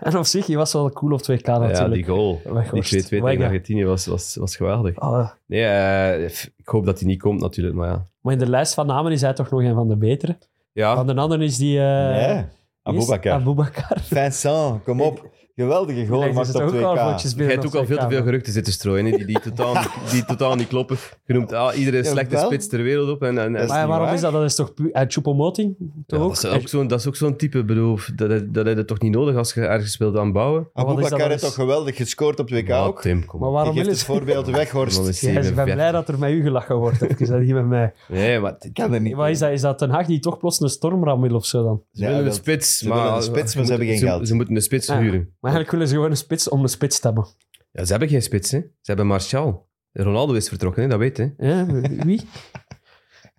En op zich, je was wel cool op 2K
Ja,
natuurlijk.
die goal. Die 2-2
Wegworst.
tegen
Wega.
Argentinië was, was, was geweldig.
Ah,
Nee, eh, f- ik hoop dat hij niet komt natuurlijk, maar ja.
maar in de lijst van namen is hij toch nog een van de betere.
Ja,
Van de anderen is die... eh
Nee,
wie is-
Aboubakar.
Aboubakar.
Vincent, kom op. Geweldige goal,
Nee,
maar
die zit
op
ook al
2K.
vlotjes
jij
binnen
hebt
op
ook al veel
2K,
te veel
man.
geruchten zitten strooien, hè, die, die, totaal, niet- die totaal niet kloppen. Je noemt ah, iedere slechte
Jawel.
spits ter wereld op. En, en, en-
Dat is
Maar
niet
waarom
waar.
is dat? Dat is toch puur... Uit Choupo-Moting?
Ja,
Toch ook?
dat, is ook zo'n, dat is ook zo'n type, bedoel, dat, dat, dat heb je toch niet nodig als je ergens wilt aanbouwen.
Maar wat is dat
Aboubakar
dan
heeft
eens?
toch geweldig gescoord op 2K ook?
Tim, kom
Maar
op.
Je
waarom
geeft
willen
het
ze...
voorbeeld weg,
Dan
Horst.
is
Ja, ik ben
57.
blij dat er met u gelachen wordt. Even dat niet met mij.
Nee, maar
Ik kan er niet.
Wat is dat? Is dat Den Haag die toch plots een stormram wil of zo dan?
ze willen een
dat-
spits.
ze
maar,
willen een spits, maar ze hebben geen geld.
Ze moeten een spits
Ah.
huren.
Maar eigenlijk willen ze gewoon een spits om een spits te hebben.
Ja, ze hebben geen spits, hè. Ze hebben Martial. Ronaldo is vertrokken, hè. dat weet je.
Ja, wie?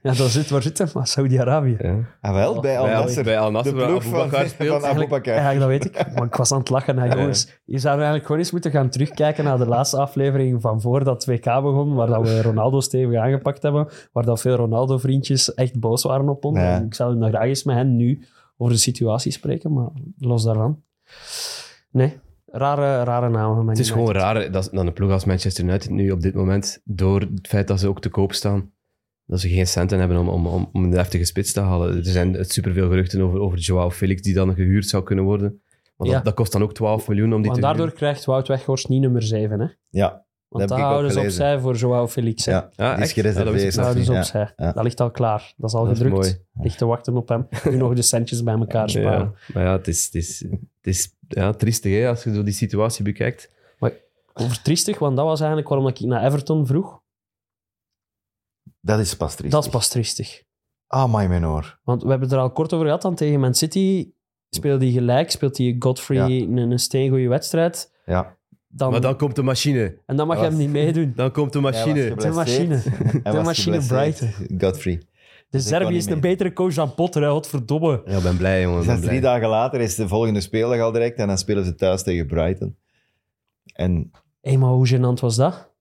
Ja, daar zit, waar zit hem? Maar Saudi-Arabië.
Ja.
Ah, wel, bij Al
Bij Al-
Nasser.
bij Al Nasser,
de
waar
ploeg
Aboubakar
van,
speelt.
van Aboubakar.
Eigenlijk, dat weet ik. Maar ik was aan het lachen. Hè, jongens. Je zou eigenlijk gewoon eens moeten gaan terugkijken naar de laatste aflevering van voor dat 2K begon, waar dat we Ronaldo stevig aangepakt hebben, waar dat veel Ronaldo-vriendjes echt boos waren op ons.
Ja.
En Ik zou nog graag eens met hen nu over de situatie spreken, maar los daarvan. Nee, rare, rare namen.
Het is gewoon raar dat dan een ploeg als Manchester United nu op dit moment, door het feit dat ze ook te koop staan, dat ze geen centen hebben om, om, om, om een heftige spits te halen. Er zijn superveel geruchten over, over Joao Felix, die dan gehuurd zou kunnen worden. Maar dat,
Ja.
dat kost dan ook 12 miljoen om die
Want
te
daardoor
huren.
krijgt Wout Weghorst niet nummer 7, hè?
Ja, heb
Want dat
ik ook
houden ze
gelezen.
opzij voor Joao Felix. hè.
ja.
Ja,
Die is
echt?
gereserveerd.
Ja, dat wist ik
Nou, dus
Ja,
opzij.
ja.
Dat ligt al klaar. Dat is al
Dat is
gedrukt.
mooi.
Ligt te wachten op hem. Nu nog de centjes bij elkaar
niet.
sparen.
Ja. Maar ja, het is, het is, het is ja, triestig hè, als je zo die situatie bekijkt.
Over triestig, want dat was eigenlijk waarom ik naar Everton vroeg.
Dat is pas triest.
Dat is pas triestig.
Ah, my menor.
Want we hebben er al kort over gehad. Dan tegen Man City speelde hij gelijk. Speelt hij Godfrey een, een steengoeie wedstrijd.
Ja.
Dan,
Maar dan komt de machine.
en dan mag je
was-
hem niet meedoen.
Dan komt de
Hij
machine.
was
De machine.
Hij was
machine
geblesseerd. Godfrey.
De
ik kan
Serbië
niet
is
mee.
een betere coach dan Potter. Hè. Godverdomme.
Ja, ik ben blij, jongen.
Dus
ik
dat
ben
is drie
blij.
dagen later is de volgende speeldag al direct en dan spelen ze thuis tegen Brighton. En,
Hé, maar hoe gênant was dat?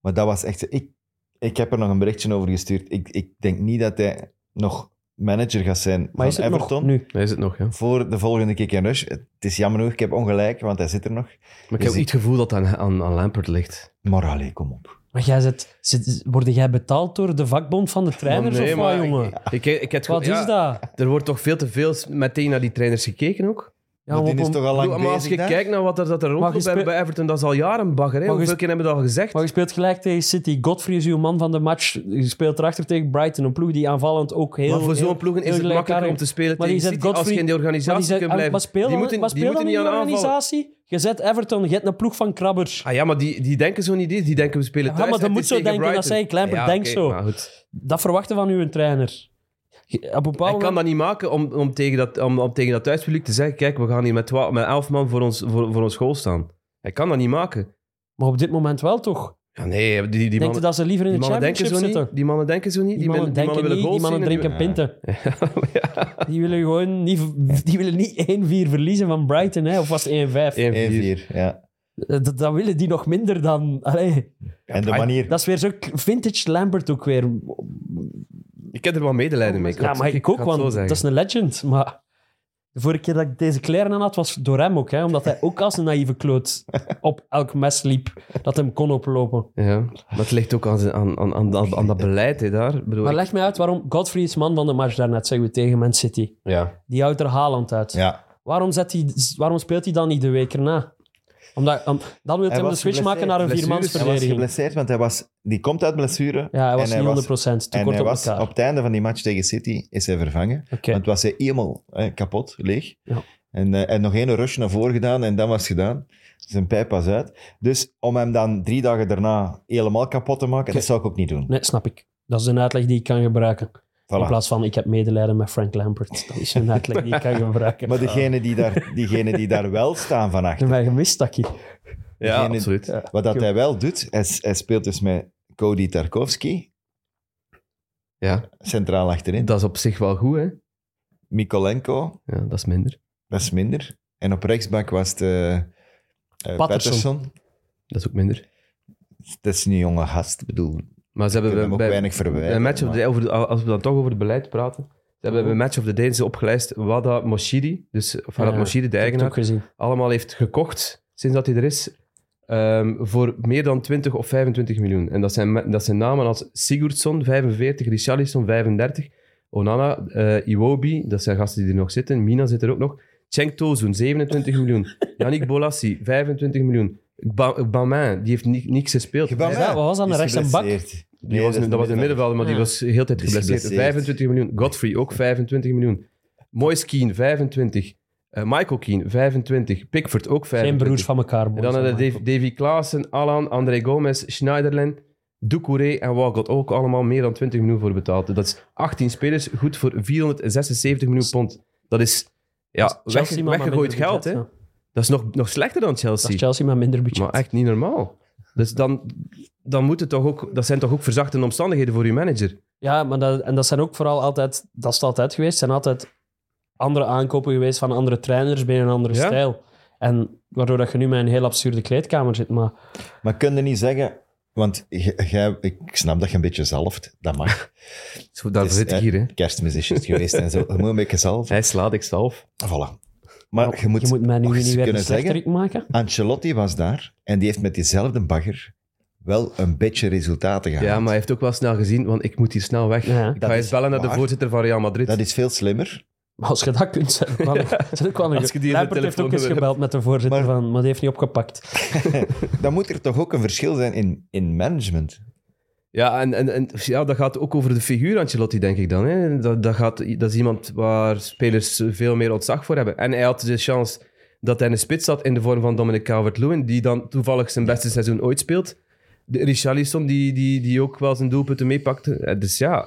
maar dat was echt... Ik, ik heb er nog een berichtje over gestuurd. Ik, ik denk niet dat hij nog manager gaat zijn
Maar is
van
het nog
Everton.
nu?
Daar is het nog, ja.
Voor de volgende kick en rush. Het is jammer genoeg, ik heb ongelijk, want hij zit er nog.
Maar ik
Dus
heb niet het gevoel dat dat aan, aan, aan Lampert ligt.
Maar allee, kom op.
Maar jij zit, zit, word jij betaald door de vakbond van de trainers
Maar nee,
of wat,
maar
jongen?
Ik, ik, ik heb het
Wat
gevoel-
is
ja,
dat?
Er wordt toch veel te veel meteen naar die trainers gekeken ook?
Ja,
maar
maar,
die is
op-
toch al lang
Bedoel, maar als
bezig
je
daar?
kijkt naar wat er, dat er rondloopt
speel-
bij, bij Everton, dat is al jaren bagger. Hè?
je
Hoeveel
sp-
keer hebben we dat al gezegd?
maar je speelt gelijk tegen City. Godfrey is uw man van de match. Je speelt erachter tegen Brighton. Een ploeg die aanvallend ook heel...
maar voor
heel-
zo'n ploegen
heel
is het makkelijker
gelijkaardig-
om te spelen
Maar die
tegen
zet
City als je
Godfrey-
in die
Maar,
organisatie
die zet,
kunt blijven.
maar speel
die
dan,
moeten,
maar
die
speel
moeten
dan in
niet
die
aan aanvallen.
organisatie. Je zet Everton, je hebt een ploeg van krabbers.
Ah ja, maar die, die denken zo niet. Die die denken we spelen
Ja,
thuis.
maar dat
het
moet
is
zo
tegen
denken, dat
Brighton.
zei ik, Lampert, denk
oké,
zo.
maar goed.
Dat verwachten van uw trainer. Je- Op een
Hij
bepaald
kan
moment...
dat niet maken om, om, tegen dat, om, om tegen dat thuispubliek te zeggen: kijk, we gaan hier met, twa- met elf man voor ons, voor, voor ons goal staan. Hij kan dat niet maken.
Maar op dit moment wel toch.
Ja, nee, die, die,
Denk je
mannen,
dat ze liever in
die
de
mannen denken
Championship
zo
zitten?
niet. Die mannen denken zo niet.
Die mannen
men-
denken niet, die mannen
willen
drinken
goals
pinten.
zien. Ja,
Die willen gewoon niet, die willen niet 1-4 verliezen van Brighton, hè? of was het 1-5?
ja.
1-4, ja.
Dat, Eh, dat willen die nog minder dan. Allee,
En de
maar-
manier...
dat is weer zo'n vintage Lambert ook weer.
Ik heb er wel medelijden mee.
ja, maar ik, ook, want dat is een legend. Maar de vorige keer dat ik deze kleren aan had, was door hem ook. Hè, omdat hij ook als een naïeve kloot op elk mes liep dat hem kon oplopen.
Ja, maar het ligt ook aan, zijn- aan, aan, aan, aan, aan dat beleid hè, daar. Ik Bedoel,
Maar
ik-
leg mij uit waarom Godfrey is man van de match daarnet, zeggen we tegen Man City.
ja.
Die houdt er Haaland uit.
Ja,
Waarom, zet hij, waarom speelt hij dan niet de week erna? Omdat, om- dan wil
Hij
hij hem de
was
switch maken naar een
geblesseerd. hij was
viermansverdediging.
geblesseerd, want hij was, die komt uit blessure.
Ja, hij was
en hij was-
niet 100% te
en
kort
hij
op
was,
elkaar.
op het einde van die match tegen City is hij vervangen.
Oké.
Want was hij helemaal hè, kapot, leeg.
Ja.
En, eh, en nog één rush naar voren gedaan en dan was het gedaan. Zijn pijp was uit. Dus om hem dan drie dagen daarna helemaal kapot te maken, dat zou ik ook niet doen.
Nee, snap ik. Dat is een uitleg die ik kan gebruiken. In
Voilà.
plaats van ik heb medelijden met Frank Lampert. Dat is een uitleg die ik kan gebruiken.
Maar degene die daar, diegene die daar wel staan van
Ik heb
achter,
mij gemist, Taki.
ja,
Degene-
absoluut.
wat dat hij wel doet, hij, s- hij speelt dus met Cody Tarkovsky,
Ja,
centraal achterin.
dat is op zich wel goed, hè.
Mikolenko,
Ja, dat is minder.
dat is minder. En op rechtsbak was het eh, eh, Patterson.
Dat is ook minder.
Dat is een jonge gast, ik bedoel.
Maar ze
Ik heb
hebben
hem ook
bij,
weinig verwijten,
bij match of
maar-
the- over de- als we dan toch over het beleid praten, ze
Oh.
hebben bij Match of the Day ze opgelijst Wada Moshidi, dus Farhad
Ja,
Moshidi, de
Ik heb het
eigenaar,
ook gezien.
allemaal heeft gekocht sinds dat hij er is. ehm, voor meer dan 20 of 25 miljoen. En dat zijn, me- dat zijn namen als Sigurdsson, 45, Richarlison, 35, Onana, eh, Iwobi, dat zijn gasten die er nog zitten, Mina zit er ook nog, Cenk Tosun, 27 miljoen, Yannick Bolassi, 25 miljoen, Ba- Bamin, die heeft ni- niks gespeeld.
Gebamijn
Ja, wat was dat,
is
de rechtse bak?
geblesseerd.
Die was, dat was een middenvelder, maar die
Ja.
was de hele tijd
Die is
geblesseerd.
geblesseerd.
25 miljoen. Godfrey ook 25 miljoen. Moyes Keane 25. Eh, Michael Keane 25. Pickford ook 25.
Geen broers van elkaar, boys.
En dan hadden
allemaal.
Dave- Davy Klaassen, Alan, André Gomez, Schneiderlin, Doucouré en Walcott ook allemaal meer dan 20 miljoen voor betaald. Dat is 18 spelers, goed voor 476 miljoen pond. Dat is ja,
Chelsea,
weg,
maar met
weggegooid
minder
geld. Hè.
budget, ja.
Dat is nog, nog slechter dan
Dat
Chelsea.
is Chelsea met minder budget.
Maar echt niet normaal. Dus dan, dan moet het toch ook... Dat zijn toch ook verzachte omstandigheden voor uw manager?
Ja, maar dat, en dat zijn ook vooral altijd... Dat is het altijd geweest. zijn altijd andere aankopen geweest van andere trainers binnen een andere
Ja?
stijl. En waardoor dat je nu met een heel absurde kleedkamer zit. Maar
Maar kun je niet zeggen... Want j- jij- ik snap dat je een beetje zalft. Dat mag.
Zo, daar
Dus,
zit ik
hè,
hier, hè.
Kerstmis is juist geweest en zo. Je moet een beetje zalven.
Hij slaat, ik zelf.
Voilà. Maar je moet,
je moet mij nu
nog
niet
eens
weer een
kunnen zeggen...
slechterik maken.
Ancelotti was daar en die heeft met diezelfde bagger wel een beetje resultaten
Ja,
gehaald.
maar hij heeft ook wel snel gezien, want ik moet hier snel weg.
Ja.
Ik
Dat
ga
is
eens bellen naar de
waar.
voorzitter van Real Madrid.
Dat is veel slimmer.
Maar als je dat kunt, zijn er wel een- zijn er wel een-
Als je die in de
Lampert heeft ook eens
telefoon-
gebeld met de voorzitter
Maar-
van, maar die heeft niet opgepakt.
Dan moet er toch ook een verschil zijn in, in management.
Ja, en, en, en ja, dat gaat ook over de figuur Ancelotti, denk ik dan. Hè. Dat, dat, gaat, dat is iemand waar spelers veel meer ontzag voor hebben. En hij had de chance dat hij in de spits zat in de vorm van Dominic Calvert-Lewin, die dan toevallig zijn beste seizoen ooit speelt. De Richarlison, die, die, die ook wel zijn doelpunten meepakte. Eh, Dus ja,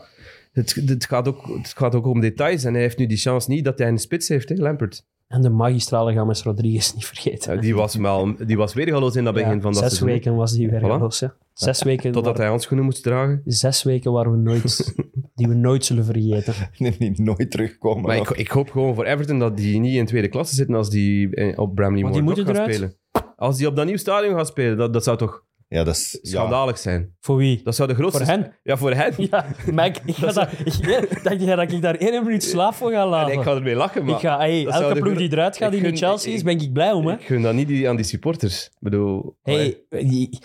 het, het, gaat ook, het gaat ook om details. En hij heeft nu die chance niet dat hij een spits heeft, hè, Lampert.
En de magistrale James Rodriguez niet vergeten.
Ja, die, was wel, die was weergaloos in dat begin
Ja,
van dat
zes
seizoen.
weken was die weer
Voilà.
gelost, hè. Zes weken,
Totdat
waar,
hij handschoenen moest dragen.
zes weken waar we nooit, die we nooit zullen vergeten.
Die nooit terugkomen.
Maar ik, ik hoop gewoon voor Everton dat die niet in tweede klasse zitten als die eh, op Bramley
Maar die
Moor
moeten
gaan
eruit.
spelen. Als die op dat nieuw stadion gaan spelen, dat, dat zou toch
ja, dat is... Ja.
schandalig zijn.
Voor wie?
Dat dus- zou de grootste...
Voor hen?
Ja, voor hen.
Ja, Mac, ik ga dat, ik, dacht jij dat ik daar één minuut slaap voor ga
En
laten?
ik ga ermee lachen, maar
Ik ga- hey,
dat zou
elke
de
ploeg
gro-
die eruit gaat
Ik
die nu
gun-
Chelsea is,
ik-
ben ik blij om. Hè?
ik gun dat niet die- aan die supporters. Ik bedoel... allee,
Hey, die-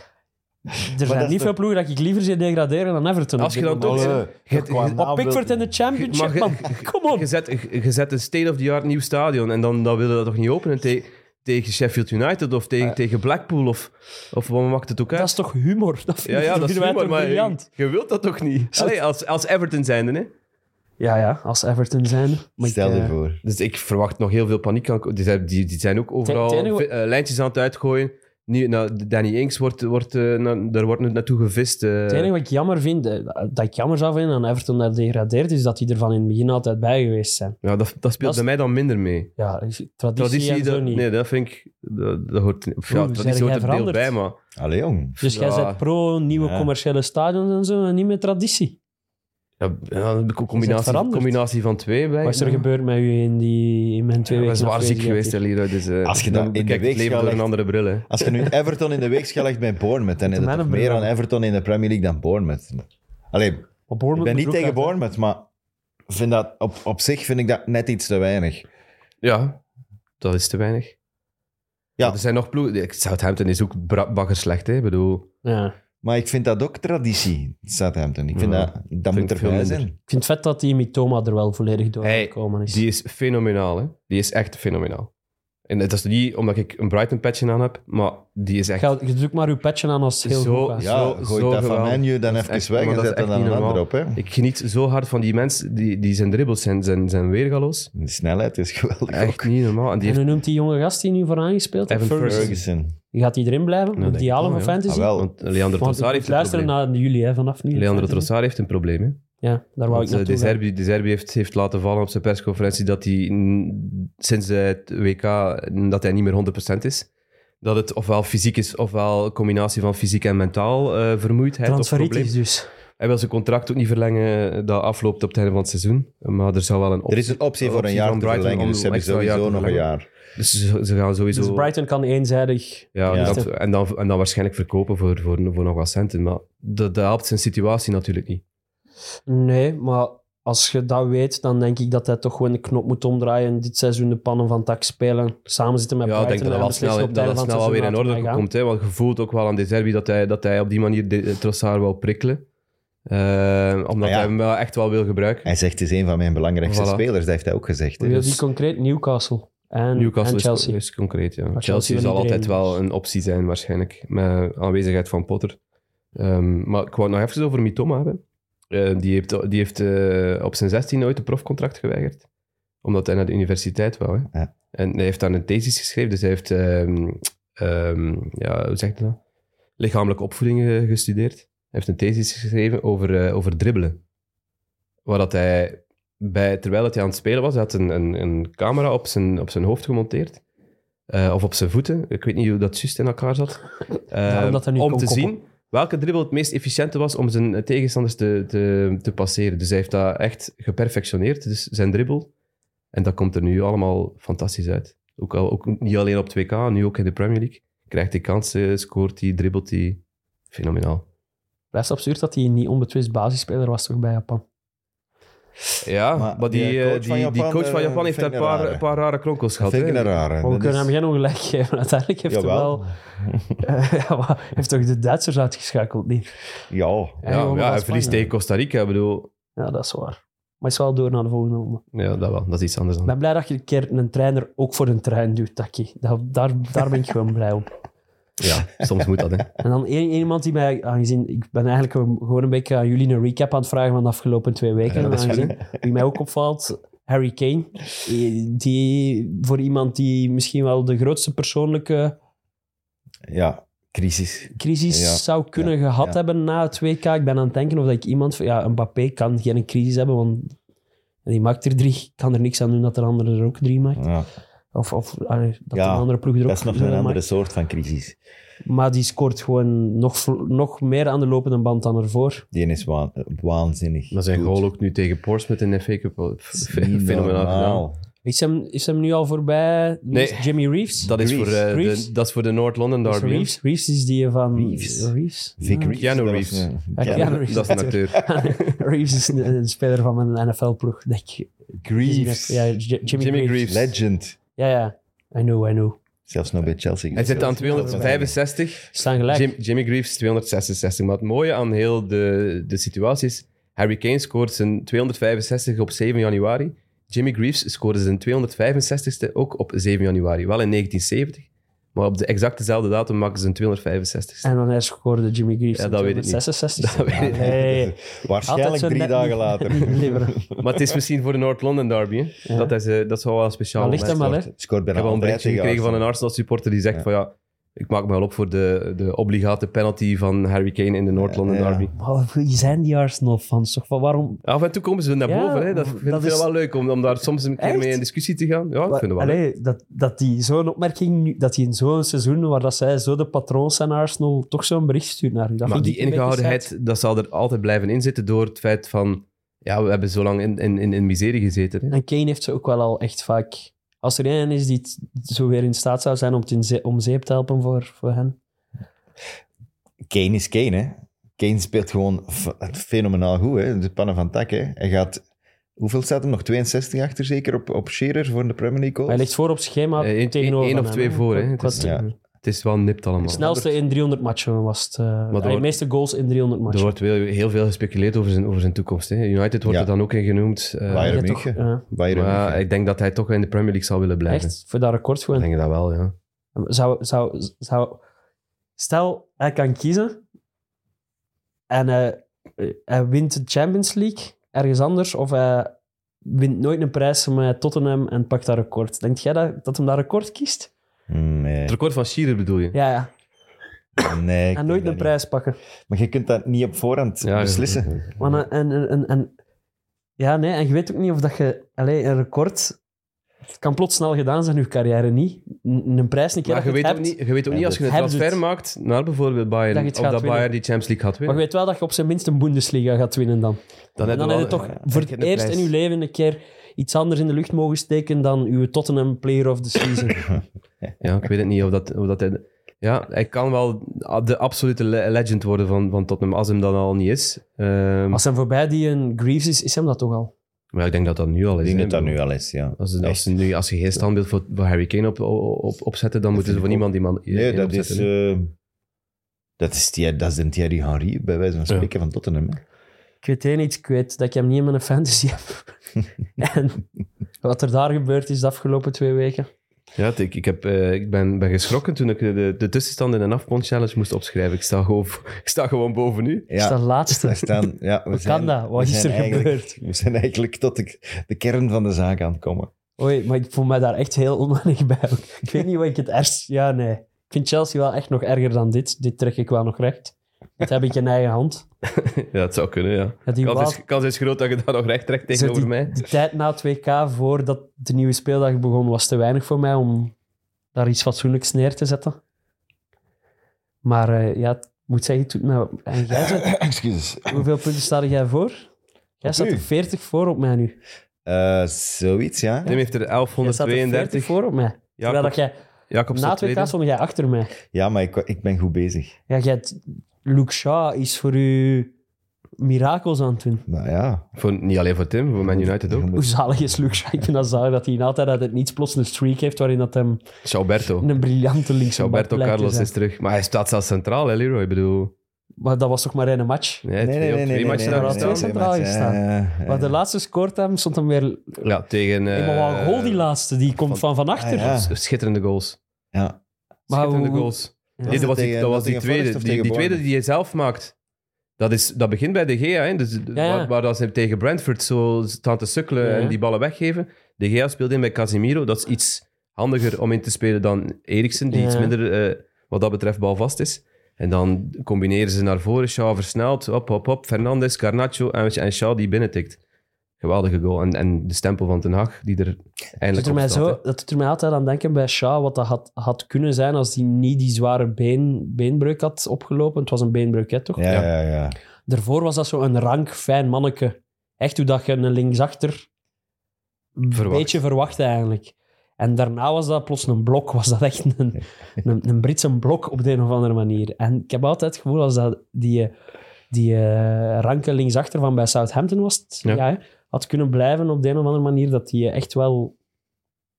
er zijn
dat is
niet
de-
veel ploegen dat ik liever zie degraderen dan Everton. op
als je
dit
dan
moment.
toch...
Allee,
je- je-
qua
je-
Op Pickford in de
Maar
Championship,
je-
man.
je-
Kom op.
Je zet, je- je zet een state-of-the-art nieuw stadion en dan, dan willen dat toch niet openen te- tegen Sheffield United of tegen, tegen Blackpool of, of wat maakt het ook uit?
Eh. Dat is toch humor? Dat
Ja, ja, dat is
wij
humor,
toch
maar je,
briljant.
je wilt dat toch niet? Allee, als, als Everton zijnde, hè?
Ja, ja, als Everton zijn. Maar ik,
Stel je
eh,
voor.
Dus ik verwacht nog heel veel paniek. aan- Die zijn, die, die zijn ook overal
Ten- ten hoe-
vi- eh, lijntjes aan het uitgooien. Nu, nou, Danny Inks wordt, wordt, eh, na- daar wordt nu naartoe gevist. eh.
Het enige wat ik jammer vind, eh, dat ik jammer zou vinden aan Everton dat degradeert, is dat die er van in het begin altijd bij geweest zijn.
ja, dat, dat speelt
Dat is-
bij mij dan minder mee.
Ja, traditie, en
Traditie,
zo
dat,
niet.
nee, dat vind ik... Dat, dat hoort, of ja,
Oeh, zijn
traditie
jij
hoort er deel
veranderd?
bij, maar...
Allee, jong.
Dus jij
Ja.
bent pro nieuwe
Ja.
commerciële stadions en zo, en niet met traditie.
Ja, ja, een co- combinatie,
veranderd.
combinatie van twee bij.
Wat is er
Ja.
gebeurd met u in, die, in mijn twee
Ja, ik ben zwaar
weken?
ziek
afwezigheid
geweest, hè,
hier?
Leroy. Dus, eh,
Als je dat in de
bekijk
week
het leven door
scheldt-
een andere bril, hè.
Als je nu Everton in de week scheldt bij Bournemouth, dan heb je
mijn
toch meer
bril.
aan Everton in de Premier League dan Bournemouth. Allee,
Maar
ik
Bournemouth
ben
moet
niet
er ook
tegen
uit, hè.
Bournemouth, maar vind dat, op, op zich vind ik dat net iets te weinig.
Ja, dat is te weinig.
Ja.
Ja. Er zijn nog ploegen. Southampton is ook bra- bagger slecht, hè. Ik bedoel,
Ja.
Maar ik vind dat ook traditie, Southampton. Ik vind
Ja,
dat, dat
vind
moet
ik veel
erbij
minder.
zijn.
Ik vind het vet dat die Mitoma er wel volledig door
Hey,
gekomen is.
die is fenomenaal, hè. Die is echt fenomenaal. En dat is niet omdat ik een Brighton patchje aan heb, maar die is echt...
Ga- Je zoekt maar uw patchen aan als het heel
Zo-
goed gaat.
ja.
Ja,
Zo-
gooi
zo
dat van
geweldig.
menu dan
Dat is
even
echt-
weg
maar
en
dat is
zet dat dan
echt
een
niet
ander
normaal.
op. Hè.
Ik geniet zo hard van die mensen, die, die zijn dribbles zijn, zijn, zijn weergaloos.
De snelheid is geweldig.
Echt niet normaal. En die
En
heeft,
hoe noemt die jonge gast die nu vooraan gespeeld heeft?
Evan Ferguson.
Ferguson.
Gaat die erin blijven?
denk
Moet die
ik
halen
wel,
van
ja.
Ah,
Fantasy?
wel.
want Leandro
Want
Trossard
ik
heeft een
luister
probleem.
naar jullie hè, vanaf nu.
Leandro
Fantasy.
Trossard heeft een probleem, hè.
Ja, daar wou ik
Want, eh,
naartoe
de
gaan.
Serbi, de Serbi heeft, heeft laten vallen op zijn persconferentie dat hij mm, sinds het WK dat hij niet meer 100% is. Dat het ofwel fysiek is, ofwel een combinatie van fysiek en mentaal eh, vermoeidheid. Of probleem.
Transferitis dus.
Hij wil zijn contract ook niet verlengen eh, dat afloopt op het einde van het seizoen. Maar er zal wel een op.
Er is een optie voor een
optie
jaar
van
te
Brighton
verlengen,
om
dus ze hebben
extra jaar
sowieso
te
nog een
verlengen.
jaar.
Dus ze, ze gaan sowieso...
Dus Brighton kan eenzijdig...
Ja,
Ja.
dat- en, dan, en dan waarschijnlijk verkopen voor, voor, voor nog wat centen. Maar dat, dat helpt zijn situatie natuurlijk niet.
Nee, maar als je dat weet, dan denk ik dat hij toch gewoon de knop moet omdraaien. en Dit seizoen de pannen van tak spelen. Samen zitten met
Ja, ik denk
Brighton
dat dat
en
wel
beslissen
snel,
op
dat dat
het einde
snel
van
wel
het
weer in
seizoen
orde
laten
komt. Hè? Want je voelt ook wel aan de derby dat hij, dat hij op die manier de, Trossard wil prikkelen. Eh, omdat
ja.
hij hem wel echt wel wil gebruiken.
Hij zegt, het is een van mijn belangrijkste
Voilà.
spelers. Dat heeft hij ook gezegd. hè.
gaan. Wil
Dus-
die concreet Newcastle en,
Newcastle
en
is-
Chelsea.
Is, concreet, ja. Chelsea,
Chelsea wil
zal altijd
iedereen. dus.
wel een optie zijn, waarschijnlijk. Met aanwezigheid van Potter. Ehm, maar ik wou het nog even over Mitoma hebben. Eh, die heeft, die heeft eh, op zijn 16 ooit een profcontract geweigerd. Omdat hij naar de universiteit wou. Hè.
Ja.
En hij heeft daar een thesis geschreven. Dus hij heeft, ehm, ehm, ja, hoe zeg je dat? Lichamelijke opvoeding eh, gestudeerd. Hij heeft een thesis geschreven over, eh, over dribbelen. Waar dat hij bij, terwijl dat hij aan het spelen was, hij had een, een, een camera op zijn, op zijn hoofd gemonteerd. Eh, of op zijn voeten. Ik weet niet hoe dat juist in elkaar zat. Eh,
Daarom dat hij nu
om
kon
te
koppelen.
zien welke dribbel het meest efficiënte was om zijn eh, tegenstanders te, te, te passeren. Dus hij heeft dat echt geperfectioneerd, dus zijn dribbel. En dat komt er nu allemaal fantastisch uit. Ook, al, ook niet alleen op 2K, nu ook in de Premier League. Krijgt hij kansen, scoort hij, dribbelt hij. Fenomenaal.
Blijft absurd dat hij niet onbetwist basisspeler was toch bij Japan.
Ja,
Maar
maar,
die,
die,
eh,
eh,
coach
die,
van
die
Japan,
coach van
eh,
Japan heeft
vind
daar
ik
een
een
paar,
rare.
een paar rare kronkels
Dat
gehad.
vind ik
hè.
een rare.
Maar we
Dat
kunnen
is-
hem geen ongelijk geven. Uiteindelijk heeft hij
Jawel.
wel... Eh, ja, maar heeft toch de Duitsers uitgeschakeld? niet?
Ja.
En
Ja,
gewoon
ja,
wel
hij verliest
Spanje.
tegen Costa Rica. Ik bedoel,
Ja, dat is waar. Maar hij is wel door naar de volgende ronde.
ja, dat wel. Dat is iets anders
Ik
dan.
ben blij dat je een keer een trainer ook voor een trein duwt, Taki. Dat, daar, daar ben ik gewoon blij om.
Ja, soms moet dat, hè.
En dan één, één iemand die mij, aangezien ik ben eigenlijk gewoon gewoon een beetje aan jullie een recap aan het vragen van de afgelopen twee weken.
Ja, dat is
aangezien, wie mij ook opvalt, Harry Kane. Die voor iemand die misschien wel de grootste persoonlijke
Ja, crisis.
crisis
Ja,
zou kunnen
ja,
gehad
ja.
hebben na het WK. Ik ben aan het denken of dat ik iemand... Ja, Mbappé kan geen crisis hebben, want die maakt er drie. Ik kan er niks aan doen dat de andere er ook drie maakt.
Ja,
Of, of allee, dat
Ja,
een andere ploeg er ook
dat is nog
eh,
een andere
maakt.
soort van crisis.
Maar die scoort gewoon nog, vl- nog meer aan de lopende band dan ervoor.
Die is waan- eh, waanzinnig.
Maar zijn
goed.
goal ook nu tegen Portsmouth in de FA Cup. wel f-
Dat
f-
is niet
Fenomenaal gedaan.
normaal.
Is hem, is hem nu al voorbij? Wie is
Nee.
Jimmy Reeves?
Dat is voor, eh, de-
Reeves?
dat is voor de North-London
Dat is
derby. hè.
Reeves. Reeves is die van...
Reeves.
Reeves?
Vic
Ja.
Reeves.
Keanu
dat
Reeves.
was een-
Ah,
Ja.
Keanu
Dat is een acteur.
Reeves is een, een speler van mijn NFL-ploeg, denk ik.
Greaves.
Ja, J- Jimmy,
Jimmy
Greaves.
Greaves.
Legend.
Ja, ja. I know, I know.
Zelfs nog bij Chelsea.
Hij zit aan
gespeeld.
265.
Staan gelijk.
Jim- Jimmy Greaves 266. Maar het mooie aan heel de, de situatie is... Harry Kane scoort zijn 265 op 7 januari. Jimmy Greaves scoorde zijn 265ste ook op 7 januari. Wel in 1970. Maar op de exactezelfde datum maken ze zijn 265ste.
En dan hij scoorde Jimmy Greaves.
Ja,
in
dat weet ik niet.
266.
Dat weet ik
niet.
Nee. Altijd
Waarschijnlijk
zo
drie
net
dagen
niet-
later.
niet leveren.
Maar het is misschien voor de Noord-London derby. Hè?
Ja.
Dat, is, eh, dat zou wel speciaal
Dat ligt
zijn.
hem wel, hè.
Scoort
Ik
bijna
heb al
altijd
een berichtje
tegen
gekregen van een
Arsenal.
Arsenal supporter die zegt van ja, ik maak me wel op voor de, de obligate penalty van Harry Kane in de Noord-London
Ja, ja.
derby.
Maar Wie zijn die Arsenal-fans? Toch? Van Waarom?
Af en toe komen ze naar
Ja,
boven. Hè. Dat vind ik
dat
wel
is-
wel leuk om, om daar soms een keer
Echt?
mee in discussie te gaan. Ja, ik vind het wel leuk.
Allee, dat, dat die zo'n opmerking, nu- dat die in zo'n seizoen, waar dat zij zo de patroons zijn Arsenal, toch zo'n bericht stuurt naar u. Dat
Maar
vind
die
ik een beetje
ingehoudenheid, dat zal er altijd blijven inzitten door het feit van ja, we hebben zo lang in, in, in, in miserie gezeten. Hè.
saai. En Kane heeft ze ook wel al echt vaak... Als er één is die het zo weer in staat zou zijn om, het in ze- om zeep te helpen voor, voor hen.
Kane is Kane, hè. Kane speelt gewoon f- fenomenaal goed, hè. De pannen van tak, hè. Hij gaat... Hoeveel staat hem nog? 62 achter, zeker, op, op Shearer voor de Premier League goals?
Hij ligt voor op schema
Eh, één-
tegenover
één
van
of
hem,
twee voor, hè.
Qua-
Het is-
qua-
ja.
Het is wel nipt allemaal.
Het snelste in 300 matchen was het. eh,
wordt-
de meeste goals in 300
Er
matchen.
wordt wel heel veel gespeculeerd over zijn, over zijn toekomst. Hè. United wordt
Ja.
er dan ook in genoemd. eh,
Bayern
Ja, toch,
München.
ja.
Bayern
maar
München.
ik denk dat hij toch in de Premier League zal willen blijven.
Echt? Voor dat record
Ik
gewoon.
denk dat wel, ja.
Zou, zou, zou... Stel, hij kan kiezen en hij, hij wint de Champions League ergens anders of hij wint nooit een prijs met Tottenham en pakt dat record. Denk jij dat, dat hem dat record kiest?
Nee,
Het record van Shearer bedoel je?
Ja, ja.
nee. ik denk
En nooit
dat
een
niet.
prijs pakken.
Maar je kunt dat niet op voorhand
Ja,
beslissen.
Maar een- en, en, en, en- ja, nee, en je weet ook niet of dat je... Allee, een record... Het kan plots snel gedaan zijn, je carrière niet. N- Een prijs een keer
Maar
dat
je weet,
het
ook
hebt,
niet, je weet ook
Ja,
niet
dat-
als je een
Hebben ze
transfer
het?
maakt naar bijvoorbeeld
Dat
Bayern,
je
of
het gaat
dat Bayern
winnen.
die Champions League gaat
Maar
winnen.
je weet wel dat je op zijn minst een Bundesliga gaat winnen dan.
dan
en dan
wel-
heb je toch
ja,
voor
heb je
het
een
eerst
prijs.
in je leven een keer iets anders in de lucht mogen steken dan uw Tottenham Player of the Season.
Ja, ik weet het niet of dat, of dat hij... Ja, hij kan wel de absolute le- legend worden van, van Tottenham, als hem dat al niet is. Ehm,
Als hem voorbij die een Greaves is, is hem dat toch al?
Maar ik denk dat dat nu al is.
Ik denk
hè.
dat dat nu al is, ja.
Als, ze- als,
Echt.
ze nu, als je geen standbeeld voor, voor Harry Kane op, op, op- opzetten, dan moeten ze
vind
voor
ik
niemand iemand i-
Nee,
in
dat is,
opzetten, hè.
eh, dat is... Thierry- Dat is een Thierry Henry, bij wijze van spreken, van Tottenham. hè.
Ik weet één iets, ik weet dat ik hem niet in mijn fantasy heb. en wat er daar gebeurd is de afgelopen twee weken.
Ja, het- ik, ik, heb, eh, ik ben, ben geschrokken toen ik de, de, de tussenstand in een afpond challenge moest opschrijven. Ik sta gewoon, ik sta gewoon boven u.
Dat is
Ja,
de
daar
laatste.
staan... Ja, we
Hoe
zijn-
kan dat? Wat
we
is
zijn
er
eigenlijk-
gebeurd?
We zijn eigenlijk tot de, de kern van de zaak aan het komen.
Oei, maar ik voel mij daar echt heel onwennig bij. ook. Ik weet niet wat ik het ergst... Ja, nee. Ik vind Chelsea wel echt nog erger dan dit. Dit trek ik wel nog recht. Dat heb ik in eigen hand.
Ja, het zou kunnen, ja.
Ja, die
kans,
Wa-
is, kans is groot dat je daar nog recht trekt
Zo
tegenover
die,
mij.
De tijd na het WK, voordat de nieuwe speeldag begon, was te weinig voor mij om daar iets fatsoenlijks neer te zetten. Maar eh, ja, ik moet zeggen, het doet mij- en jij zet-
Excuses.
hoeveel punten sta jij voor? Jij
Op
staat
u?
er 40 voor op mij nu.
Eh, zoiets, ja.
Tim heeft er
Jij staat er 40
1132.
voor op mij. Terwijl dat
Jacob,
jij,
Jacob
na
staat
het WK
tweede.
stond jij achter mij.
Ja, maar ik, ik ben goed bezig.
Ja, jij hebt- Luke Shaw is voor u mirakels aan het doen.
Nou ja.
Voor, niet alleen voor Tim, voor Man United ook.
Hoe zalig is Luke Shaw? Ik vind dat zalig dat hij in altijd uit het niets plots een streak heeft waarin dat hem
Alberto.
een briljante linkse bak
Alberto
blijkt te
Carlos
zijn.
is terug. Maar hij staat zelfs centraal, hè, Leroy? Ik bedoel...
Maar dat was toch maar één match.
Nee, twee, twee matchen daar
nee,
gestaan.
nee, centraal gestaan. Maar de laatste scoort hem, stond hem weer...
Ja, tegen... eh,
Hey, maar wat een goal die laatste, die komt van van achter.
Ah, ja.
s- Schitterende goals.
Ja.
Maar
Schitterende
hoe-
goals.
Ja.
Nee, dat was die,
Tegen-
dat was die
tegen
tweede.
Forest of
Die,
tegen
die tweede
Bournemouth?
die je zelf maakt. Dat, is, dat begint bij de Gea, hè? Dus,
ja.
Waar, waar dat ze tegen Brentford zo staan te sukkelen
Ja, ja.
en die ballen weggeven. De Gea speelde in bij Casimiro. Dat is iets handiger om in te spelen dan Eriksen, die
Ja.
iets minder eh, wat dat betreft balvast is. En dan combineren ze naar voren. Shaw versnelt, hop, hop, hop. Fernandes, Garnacho en, en Shaw die binnentikt. Geweldige goal. En, en de stempel van Ten Hag, die er
Dat
eindelijk
doet,
op
mij
staat, hè.
zo, dat doet er mij altijd aan denken bij Shaw, wat dat had, had kunnen zijn als hij niet die zware been, beenbreuk had opgelopen. Het was een beenbreuk, hè, toch?
Ja, ja, ja. ja.
Daarvoor was dat zo'n rank, fijn manneke. Echt hoe dat je een linksachter een
Verwacht.
beetje verwachtte eigenlijk. En daarna was dat plots een blok. Was dat echt een, een, een Britse blok op de een of andere manier. En ik heb altijd het gevoel als dat die, eh, die eh, ranke linksachter van bij Southampton was, het, ja.
Ja.
hè, had kunnen blijven op de een of andere manier, dat die echt wel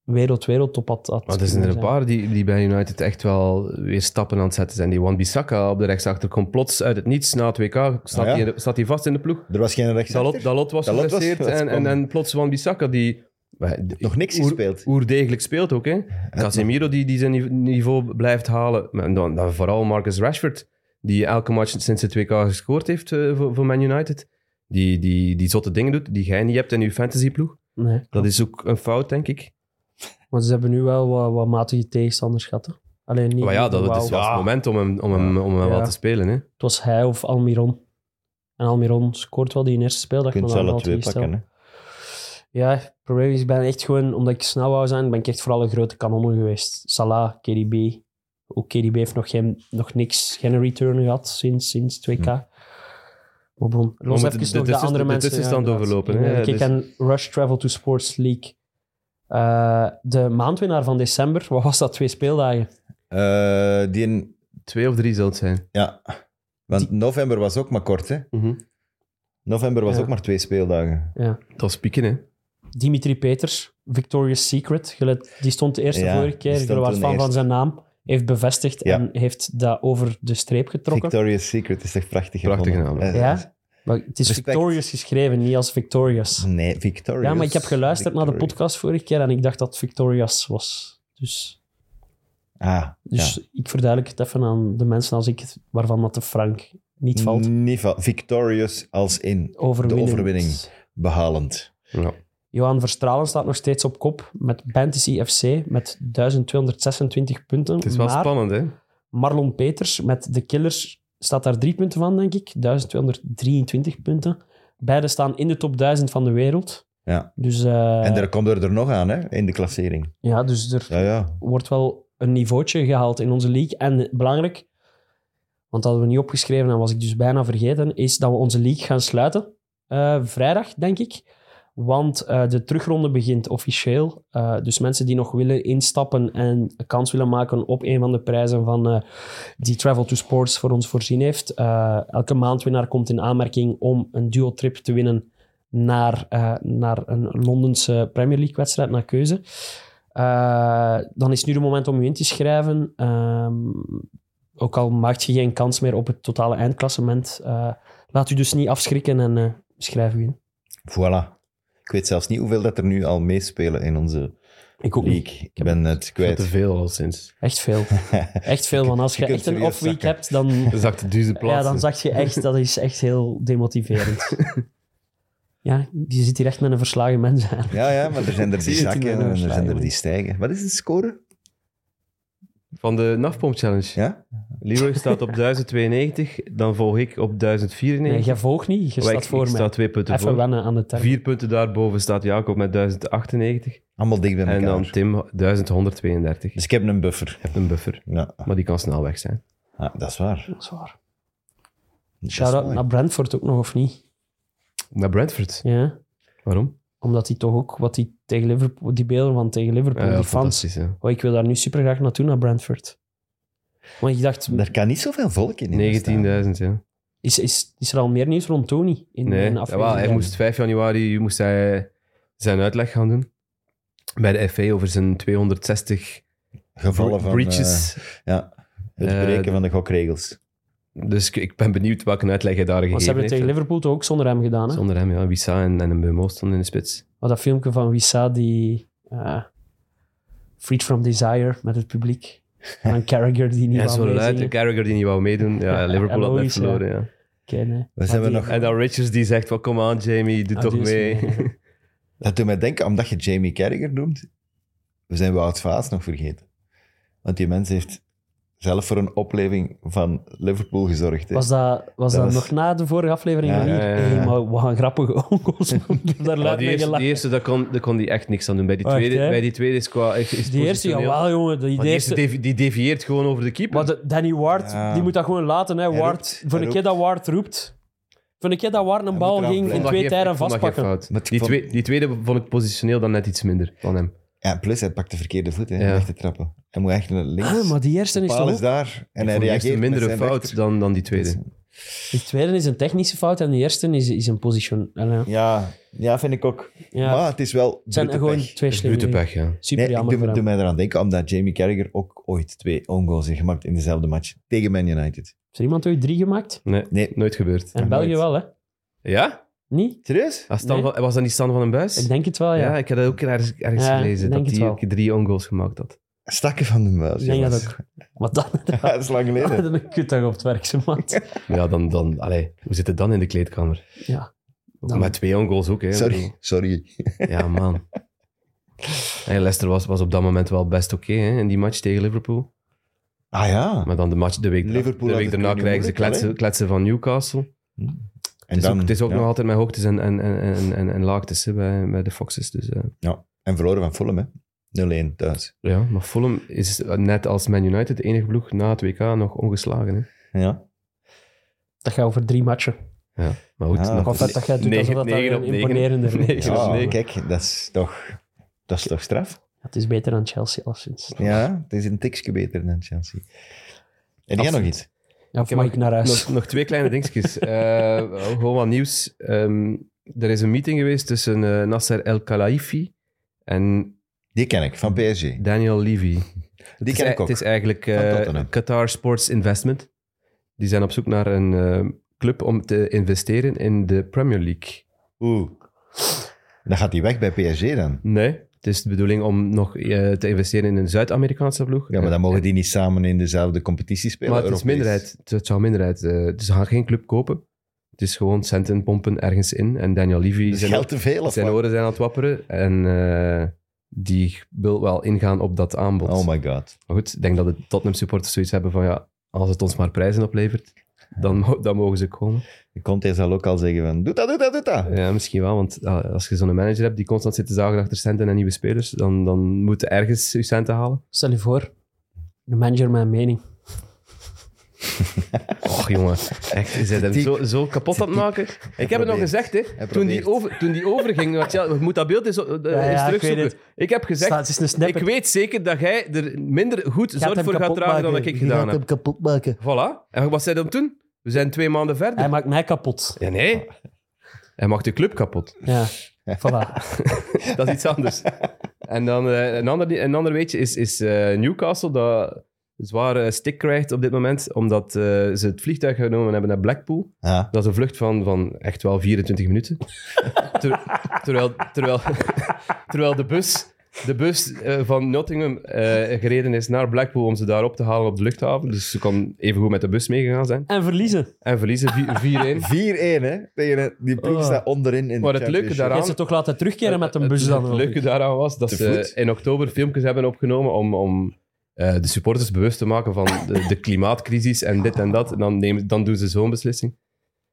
wereld, wereldtop had, had
Maar er zijn er
kunnen
een paar die, die bij United echt wel weer stappen aan het zetten zijn. Die Wan-Bissaka op de rechtsachter komt plots uit het niets na het WK. Staat,
Ah, ja?
die, in de- staat die vast in de ploeg?
Er was geen rechtsachter.
Dalot, Dalot was
Dalot was-
geblesseerd
dat
en, en,
kwam.
en plots Wan-Bissaka die...
Nog niks
oer-
gespeeld.
Oerdegelijk speelt ook, hè. Casemiro die, die zijn nive- niveau blijft halen. Maar En dan, dan vooral Marcus Rashford, die elke match sinds het WK gescoord heeft eh, voor, voor Man United. Die, die, die zotte dingen doet, die jij niet hebt in je fantasyploeg.
Nee.
Dat is ook een fout, denk ik.
Maar ze hebben nu wel wat, wat matige tegenstanders gehad. hè. Alleen niet.
Maar ja,
niet
dat
wauw.
was het moment om hem, om hem, om hem
Ja.
wat te spelen. Hè.
Het was hij of Almiron. En Almiron scoort wel die in eerste speeldag.
Je kunt
maar
ze
dan
alle
had hij
twee pakken.
gesteld.
Hè?
Ja, het probleem is, ik ben echt gewoon, omdat ik snel wou zijn, ben ik echt vooral een grote kanonnen geweest. Salah, KDB. Ook KDB heeft nog, geen, nog niks, geen return gehad sinds, sinds 2K.
Hm.
Maar bon, los
moeten de
even nog de
dus-
tussen-
andere
de
mensen.
tussenstand
inderdaad.
overlopen, hè,
Ik, eh,
dus-
Kijk, en Rush Travel to Sports League. Eh, de maandwinnaar van december, wat was dat? Twee speeldagen.
Eh, die een-
Twee of drie zal het zijn.
ja. Want november was ook maar kort, hè. November was
Ja.
ook maar twee speeldagen.
Dat is pieken, hè.
Dimitri Peters, Victoria's Secret. gelet- die stond de eerste
Ja,
vorige
die
keer. Je
stond
was
toen
fan van
eerst.
zijn naam. Heeft bevestigd
Ja.
en heeft dat over de streep getrokken.
Victoria's Secret is echt prachtig
Prachtige
gevonden.
naam.
Eh,
Ja? Maar het is
Respect.
Victorious geschreven, niet als Victorious.
eh, Nee, Victorious.
Ja, maar ik heb geluisterd naar de
Victorious.
podcast vorige keer en ik dacht dat het Victorious was. Dus,
Ah,
dus ik verduidelijk het even aan de mensen als ik, het- waarvan dat de Frank niet
ja.
valt.
Niet val- Victorious als in
Overwinnend.
overwinning. behalend.
Ja.
Johan Verstralen staat nog steeds op kop met Fantasy FC met 1226 punten.
Het is wel
maar
spannend, hè.
Marlon Peters met de Killers staat daar drie punten van, denk ik. 1223 punten. Beide staan in de top 1000 van de wereld.
Ja.
Dus, eh,
en daar komt er, er nog aan, hè, in de klassering.
ja, dus er
Ja, ja.
wordt wel een niveautje gehaald in onze league. En belangrijk, want dat hadden we niet opgeschreven en was ik dus bijna vergeten, is dat we onze league gaan sluiten. eh, vrijdag, denk ik. Want eh, de terugronde begint officieel. Eh, dus mensen die nog willen instappen en een kans willen maken op een van de prijzen van, eh, die Travel to Sports voor ons voorzien heeft. eh, elke maandwinnaar komt in aanmerking om een duo-trip te winnen naar, eh, naar een Londense Premier League wedstrijd naar keuze. Eh, dan is nu de moment om u in te schrijven. Ehm, ook al maakt je geen kans meer op het totale eindklassement, eh, laat u dus niet afschrikken en eh, schrijf u in.
Voilà. Ik weet zelfs niet hoeveel dat er nu al meespelen in onze
Ik ook
league. Ik ben het
Veel te
kwijt.
veel al sinds.
Echt veel. Echt veel, want als
Je
je
kunt
echt een
serieus
off-week
zakken.
hebt, dan,
Zakte duizend
ja,
plaatsen.
dan zag je echt, dat is echt heel demotiverend. Ja, je zit hier echt met een verslagen mens aan.
Ja, ja, maar er zijn er die
Zie je het in de
zakken en er zijn er
verslagen.
die stijgen. Wat is de score?
Van de Nafpomp Challenge.
Ja?
Leroy staat op 1092, dan volg ik op 1094.
Nee, jij volgt niet, je
Maar
staat
ik-
voor
ik sta
mij.
twee punten
Even
voor.
wennen aan de tijd.
Vier punten daarboven staat Jacob met 1098.
Allemaal dicht bij elkaar.
En dan Tim 1132.
Dus
Dus
ik heb een buffer.
ik heb een buffer.
Ja,
Maar die kan snel weg zijn.
ah, dat is waar.
Dat is waar.
Dat is
Shout-out
mooi.
naar Brentford ook nog, of niet?
Naar Brentford.
Ja,
Waarom?
omdat die toch ook, wat die tegen Liverpool, die beelden van tegen Liverpool,
Ja, ja,
die fans.
Eh, fantastisch. Ja.
Oh, ik wil daar nu super graag naartoe, naar Brentford. Want ik dacht,
Daar kan niet zoveel volk in. in
19.000,
staan.
ja.
is, is, is er al meer nieuws rond Tony? In,
Nee,
in
ja, wel, hij
aflevering?
moest 5 januari moest hij eh, zijn uitleg gaan doen. Bij de FA over zijn 260
Gevallen van eh,
breaches.
ja, het
Eh,
breken van de gokregels.
Dus ik, ik ben benieuwd welke uitleg hij daar gegeven
Want ze hebben het tegen
heeft.
Liverpool toch ook zonder hem gedaan, hè?
Zonder hem, ja. Wissa en, en een Bemo stonden in de spits.
Maar dat filmpje van Wissa, die... eh, Freed from Desire, met het publiek. En dan Carragher, die niet
Ja,
wou
zo luid.
meezingen.
En Carragher die niet wou meedoen. Ja,
Ja,
Liverpool had net
logisch, ja.
verloren, ja.
Oké, nee.
Wat zijn we
die-
nog?
En dan Richards die zegt, "Wel, kom aan Jamie, doe
Ah,
toch
die is
mee.
mee, ja.
Dat doet mij denken, omdat je Jamie Carragher noemt, we zijn Wout Vaas nog vergeten. Want die mens heeft zelf voor een opleving van Liverpool gezorgd. hè.
Was dat, was
Dat
dat
was-
nog na de vorige aflevering?
Ja,
of niet?
ja, ja, ja.
Hey, maar wat een grappige onkels. Daar
Ja, die,
luid mee
eerste,
gelachen.
die eerste, daar kon, daar kon die echt niks aan doen. Bij die
Echt,
tweede,
hè?
bij die tweede is qua... Is, is
Die eerste,
positioneel.
jawel, jongen. Die,
Maar die eerste devi- die devieert gewoon over de keeper.
Maar de- Danny Ward,
Ja.
die moet dat gewoon laten, hè.
Hij
Ward,
roept,
voor
hij
een keer dat Ward roept... Voor een keer dat Ward een
moet
bal
eraf
ging
Ik
in
vond dat
twee
geen-
tijden
ik vond dat geen
vastpakken.
fout.
Maar ik
Die,
vond-
twee- die tweede vond ik positioneel dan net iets minder van hem.
Ja, plus hij pakt de verkeerde voet hè, om
Ja.
weg te trappen. Hij moet echt naar links.
Ah, maar die eerste
de
is
paal
toch
is
ook...
daar en hij
Vond die eerste
reageert
een mindere
met zijn
fout
rechter.
dan, dan die tweede.
Die tweede is een technische fout en de eerste is, is een position. Allee,
Ja, ja, vind ik ook.
Ja,
Maar het is wel
het zijn
brute
gewoon
pech.
twee
Brute
slimme dingen.
pech, ja.
Super
Nee, ik
jammer
doe,
voor
doe
hem.
mij eraan denken, omdat Jamie Carragher ook ooit twee own goals heeft gemaakt in dezelfde match tegen Man United.
Is er iemand ooit drie gemaakt?
Nee,
Nee.
nooit gebeurd.
En
Nog
België
nooit.
wel, hè?
Ja?
Niet?
Serieus?
Was, Stan
Nee.
van- was dat niet Stan van den Buis?
Ik denk het wel, ja.
Ja, ik had dat ook ergens, ergens
Ja,
gelezen,
ik denk
dat
het
hij
wel.
drie ongoals gemaakt had.
Stakken van de muis.
ik denk dat
jongens.
ook. Want dan
dat is lang geleden.
hadden een kutdag op het werk, ze maat.
Ja, dan, dan, allee, hoe zit het dan in de kleedkamer?
Ja.
Ook
Dan-
Met twee ongoals ook, hè.
Sorry, sorry.
Ja, man. Hey, Leicester was, was op dat moment wel best oké hè, in die match tegen Liverpool.
Ah ja.
Maar dan de, match, de week, daarna-
Liverpool
de
had
week
het
daarna
toen
krijgen ze
moeilijk,
kletsen,
hè?
kletsen van Newcastle.
En
het is
dan,
ook, het is ook
ja.
nog altijd met hoogtes en, en, en, en, en, en laagtes hè, bij, bij de Foxes. Dus, eh.
En verloren van Fulham, hè. 0-1 thuis.
ja, maar Fulham is net als Man United de enige ploeg na het WK nog ongeslagen. Hè.
Ja.
Dat gaat over drie matchen.
Maar goed,
Ah,
nog-
Ik hoop dat dat jij doet, alsof dat daar
negen op
een
negen.
imponerende is.
Negen op
ja
negen.
kijk, dat is toch... Dat is toch straf?
Het is beter dan Chelsea, alleszins.
Ja, het is een tikje beter dan Chelsea. En jij nog iets?
Ja, of
heb
mag
nog-
ik naar huis?
Nog, nog twee kleine dingetjes. Eh, gewoon wat nieuws. Ehm, er is een meeting geweest tussen eh, Nasser El Khelaifi en
Die ken ik, van PSG. Die
Daniel Levy.
ken
het, is, e-
ik ook.
het is eigenlijk
Van
eh,
Tottenham.
Qatar Sports Investment. Die zijn op zoek naar een eh, club om te investeren in de Premier League.
Oeh. Dan gaat hij weg bij PSG dan.
Nee, het is de bedoeling om nog eh, te investeren in een Zuid-Amerikaanse ploeg.
Ja, maar dan mogen die niet samen in dezelfde competitie spelen.
Maar het is
Europees.
minderheid. Het- Het zou minderheid. eh, dus ze gaan geen club kopen. Het is gewoon centen pompen ergens in. En Daniel Levy...
Dus
zijn-
geld te veel of
Zijn
wat?
oren zijn aan het wapperen en eh, die wil wel ingaan op dat aanbod.
Oh my god.
Maar goed, ik denk dat de Tottenham supporters zoiets hebben van ja, als het ons maar prijzen oplevert, dan, mo- dan mogen ze komen.
Conte zal ook al zeggen van, doe dat, doe dat, doe dat.
Ja, misschien wel, want ah, als je zo'n manager hebt die constant zit te zagen achter centen en nieuwe spelers, dan, dan moet je ergens je centen halen.
Stel je voor, de manager mijn mening.
Och jongen, echt, ze zijn hem
Typ.
zo, zo kapot aan het maken. Ik heb het nog
probeert.
gezegd, hè. Toen
probeert.
die, over, toen die overging, want ja, je moet dat beeld eens, eh, eens
ja, ik weet
terugzoeken.
het.
Ik, heb gezegd,
Staat, het is een
Ik
snippet.
weet zeker dat jij er minder goed zorg
hem
voor gaat
kapot
dragen dan dat
maken.
ik gedaan heb.
kapot maken.
Voilà. En wat zei dan toen? We zijn twee maanden verder.
Hij maakt mij kapot.
Ja, nee. Hij maakt de club kapot.
Ja, voilà.
Dat is iets anders. En dan eh, een, ander, een ander weetje is, is eh, Newcastle, dat zwaar eh, stik krijgt op dit moment, omdat eh, ze het vliegtuig genomen hebben naar Blackpool.
Ja.
Dat is een vlucht van, van echt wel 24 minuten. Ter- terwijl, terwijl, terwijl de bus, de bus eh, van Nottingham eh, gereden is naar Blackpool om ze daar op te halen op de luchthaven. Dus ze kan evengoed met de bus meegegaan zijn.
En verliezen.
En verliezen vi- 4-1.
4-1, hè? Tegen het- die ploeg
Oh.
staat onderin in de
Maar het leuke
championship.
daaraan-
Je hebt ze toch laten terugkeren met een bus
Het-
dan?
Het
wel.
leuke daaraan was dat
Te voet.
ze in oktober filmpjes hebben opgenomen om, om eh, de supporters bewust te maken van de, de klimaatcrisis en dit en dat. En dan, nemen, dan doen ze zo'n beslissing.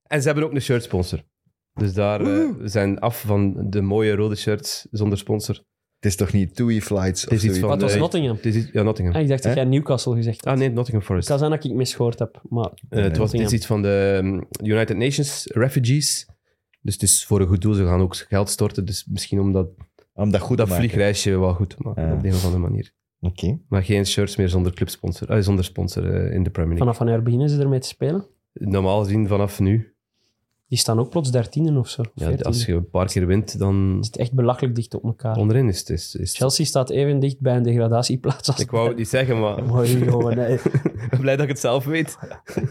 En ze hebben ook een shirtsponsor. Dus daar eh, we zijn af van de mooie rode shirts zonder sponsor.
Het is toch niet TUI Flights
is
of
iets
zoiets?
van
Maar het was
Nee.
Nottingham.
Het is iets, ja,
Ah,
Nottingham.
ik dacht dat
Hè?
jij Newcastle gezegd had.
Ah nee, Nottingham Forest.
Het kan zijn dat ik misgehoord heb, maar
Eh, het was het is iets van de mm, United Nations Refugees. Dus het is voor een goed doel. Ze gaan ook geld storten. Dus misschien om dat,
Om dat goed
dat
te maken.
vliegreisje wel goed te maken.
Ja.
Op de een of andere manier.
Oké.
Maar geen shirts meer zonder clubsponsor. eh, zonder sponsor eh, in de Premier League.
vanaf wanneer beginnen ze ermee te spelen?
Normaal gezien vanaf nu.
Die staan ook plots dertienen of zo.
Ja,
veertiende.
als je een paar keer wint, dan
Het zit echt belachelijk dicht op elkaar.
onderin is het. Is, is
Chelsea staat even dicht bij een degradatieplaats als...
Ik wou het niet zeggen, maar
Maar jongen, nee.
ik ben blij dat ik het zelf weet.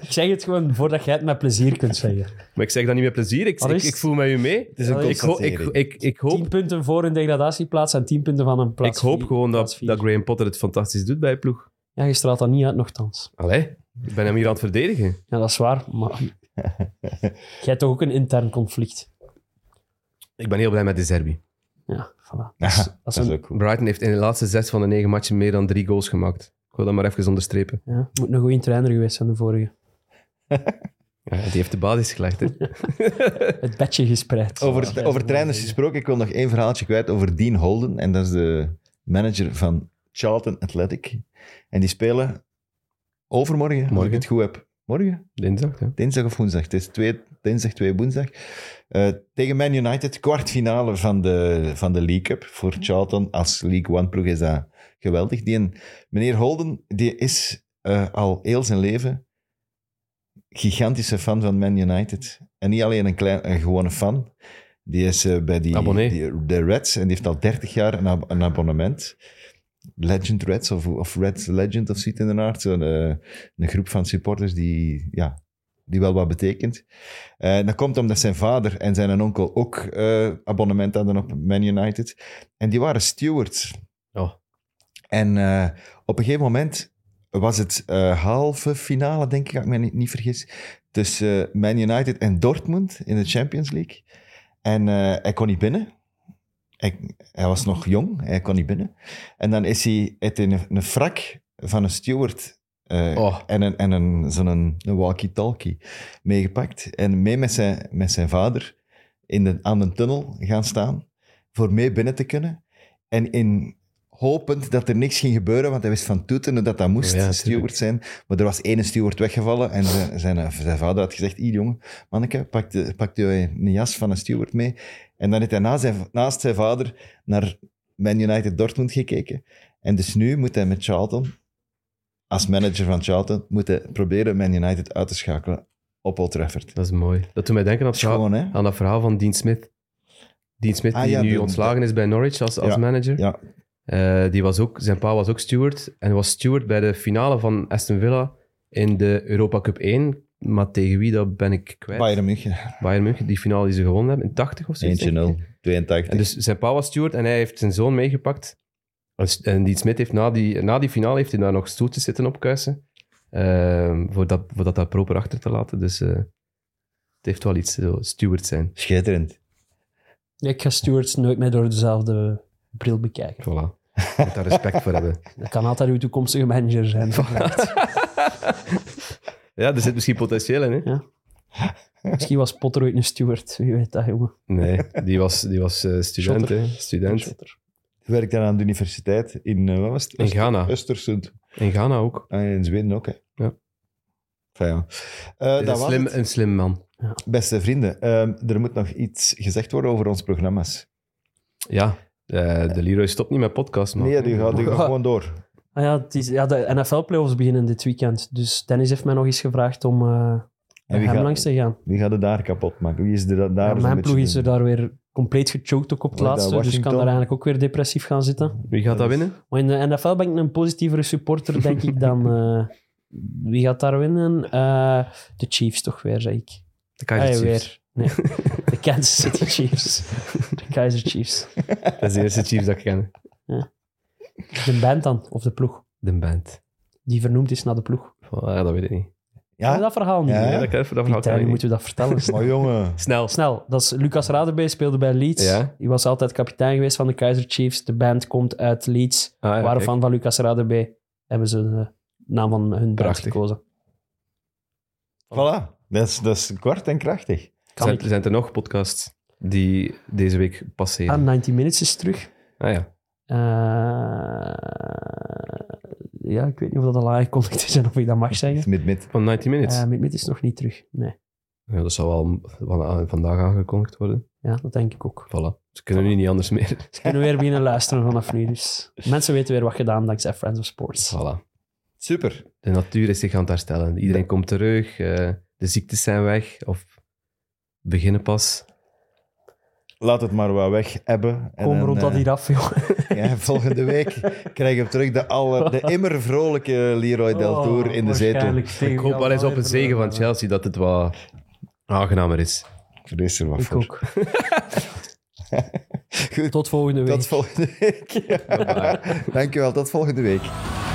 Ik zeg het gewoon voordat jij het met plezier kunt zeggen.
Maar ik zeg dat niet met plezier. Ik,
Wat
ik,
is het?
ik voel met u mee.
Het is een
Ja,
Ik, ho- ik,
constatering.
ik, ik
Tien
hoop,
punten voor een degradatieplaats en tien punten van een
ik
plaats
hoop
vier-
gewoon
plaats
dat,
vier.
dat Graham Potter het fantastisch doet bij je ploeg.
Ja, je straalt dat niet uit nogthans.
Allee, ik ben hem hier aan het verdedigen.
Ja, dat is waar, maar... jij hebt toch ook een intern conflict?
Ik ben heel blij met de Zerbi.
Ja,
Ja,
voilà. dat is
dat is
een-
ook goed.
Brighton heeft in de laatste zes van de negen matchen meer dan drie goals gemaakt. Ik wil dat maar even onderstrepen.
Ja, moet een goede trainer geweest zijn, de vorige.
Ja, die heeft de basis gelegd. Hè.
Het bedje gespreid.
Over, over trainers gesproken, ik wil nog één verhaaltje kwijt over Dean Holden. En dat is de manager van Charlton Athletic. En die spelen overmorgen, als ik
Morgen.
het goed heb. Morgen?
Dinsdag, hè.
Dinsdag of woensdag? Het is twee, dinsdag, twee woensdag. Eh, tegen Man United, kwartfinale van de, van de League Cup voor Charlton. Als League One ploeg is dat geweldig. Die een, meneer Holden die is eh, al heel zijn leven gigantische fan van Man United. En niet alleen een, klein, een gewone fan. Die is eh, bij die,
Abonnee.
die- de Reds en die heeft al 30 jaar een, ab- een abonnement. Legend Reds of, of Reds Legend of zoiets in de aard. Zo'n, eh, een groep van supporters die, ja, die wel wat betekent. Eh, dat komt omdat zijn vader en zijn onkel ook eh, abonnement hadden op Man United. En die waren stewards.
Oh.
En eh, op een gegeven moment was het eh, halve finale, denk ik, als ik me niet, niet vergis, tussen eh, Man United en Dortmund in de Champions League. En eh, hij kon niet binnen. Hij, hij was nog jong, hij kon niet binnen. En dan is hij uit een, een frak van een steward eh,
Oh.
en, een, en een, zo'n een, een walkie-talkie meegepakt. En mee met zijn, met zijn vader in de, aan de tunnel gaan staan voor mee binnen te kunnen. En in hopend dat er niks ging gebeuren, want hij wist van toeten dat dat moest,
Ja, tuurlijk.
steward zijn. Maar er was één steward weggevallen en zijn, zijn, zijn vader had gezegd, hier jongen, manneke, pak, de, pak je een jas van een steward mee. En dan heeft hij naast zijn, naast zijn vader naar Man United Dortmund gekeken. En dus nu moet hij met Charlton, als manager van Charlton, moet hij proberen Man United uit te schakelen op Old Trafford.
Dat is mooi. Dat doet mij denken aan
Dat
het
is
verhaal-
gewoon, hè?
aan dat verhaal van Dean Smith. Dean Smith,
Ah,
die
ja,
nu
de-
ontslagen is bij Norwich als, als
Ja,
manager.
ja.
Eh, die was ook, zijn pa was ook steward. En was steward bij de finale van Aston Villa in de Europa Cup 1. Maar tegen wie, dat ben ik kwijt.
Bayern München.
Bayern München, die finale die ze gewonnen hebben in 80 of zo.
Eentje 0, 82.
En dus zijn pa was steward en hij heeft zijn zoon meegepakt. Dus- En die Smit heeft na die, na die finale heeft hij daar nog stoeltjes zitten opkuisen. Ehm voordat, voordat dat proper achter te laten. Dus eh, het heeft wel iets, zo, steward zijn.
Schitterend.
Ik ga stewards nooit meer door dezelfde bril bekijken.
Voilà. Je moet daar respect voor hebben.
Dat kan altijd uw toekomstige manager zijn.
Ja, er zit misschien potentieel in, hè?
Misschien was Potter ooit een steward. Wie weet dat, jongen.
Nee, die was, die was eh, student,
Shotter.
hè? Student.
Werkt dan aan de universiteit in, eh, wat was het?
In Ghana.
Östersund.
In Ghana ook.
Ah, in Zweden ook, hè?
Ja.
Enfin, ja. Eh,
Is
dat
een,
was
slim,
het.
een slim man.
Beste vrienden, ehm, er moet nog iets gezegd worden over ons programma's.
Ja, eh, de Leroy stopt niet met podcast, man.
Nee, die gaat, die gaat
Ja.
gewoon door.
Ah ja, het is, ja, de NFL-playoffs beginnen dit weekend. Dus Dennis heeft mij nog eens gevraagd om eh,
En wie
hem
gaat,
langs te gaan.
wie gaat het daar kapot maken? Wie is er da- daar
Ja,
zo'n
mijn
beetje
ploeg is
de-
er daar weer compleet gechoked ook op
Wordt
het
dat
laatste. Dus kan
Washington?
daar eigenlijk ook weer depressief gaan zitten.
Wie gaat dat
Dat is-
winnen?
Maar in de NFL ben ik een positievere supporter, denk ik, dan... eh, wie gaat daar winnen? Eh, de Chiefs toch weer, zeg ik.
De Kaiser
Ah, ja,
Chiefs.
weer. Nee. De Kansas City Chiefs. De Kaiser Chiefs.
Dat is de eerste Chiefs dat ik ken.
De band dan, of de ploeg.
De band.
Die vernoemd is naar de ploeg.
Oh, ja, dat weet ik niet.
Ken je
Ja,
dat verhaal niet?
Ah? Ja,
Ja,
Ja,
dat, dat verhaal kan ik niet.
moeten we dat vertellen.
maar jongen.
Snel.
Snel, dat is Lucas Radebe speelde bij Leeds.
Ja.
Die was altijd kapitein geweest van de Kaiser Chiefs. De band komt uit Leeds.
Ah, ja,
waren
kijk.
fan van Lucas Radebe. Hebben ze de naam van hun band
Prachtig.
gekozen.
Voilà. Dat is, dat is kort en krachtig.
Kan
zijn,
ik.
zijn er nog podcasts die deze week passeren?
Ah, 90 Minutes is terug.
Ah ja.
Eh, ja, ik weet niet of dat al aangekondigd is en of ik dat mag zeggen.
Met, met.
Van 90 Minutes.
Eh Mid-Mid is nog niet terug. Nee,
ja, dat zal wel van- van- vandaag aangekondigd worden.
ja, dat denk ik ook.
Voilà. Ze kunnen nu niet anders meer.
Ze kunnen weer beginnen luisteren vanaf nu. Dus mensen weten weer wat gedaan dankzij Friends of Sports.
Voilà.
Super.
De natuur is zich aan het herstellen. Iedereen komt terug. eh, de ziektes zijn weg. Of beginnen pas.
Laat het maar wat weg hebben. En
Kom
dan,
rond dat
eh,
hier af, joh.
ja, volgende week krijgen we terug de, alle, de immer vrolijke Leroy Del Tour in
Oh,
de zetel.
Ik hoop wel eens op een zegen van Chelsea dat het wat aangenamer is.
Ik vrees er wat
Ik
voor.
ook.
Goed,
Tot volgende week.
tot volgende week. Dankjewel, tot volgende week.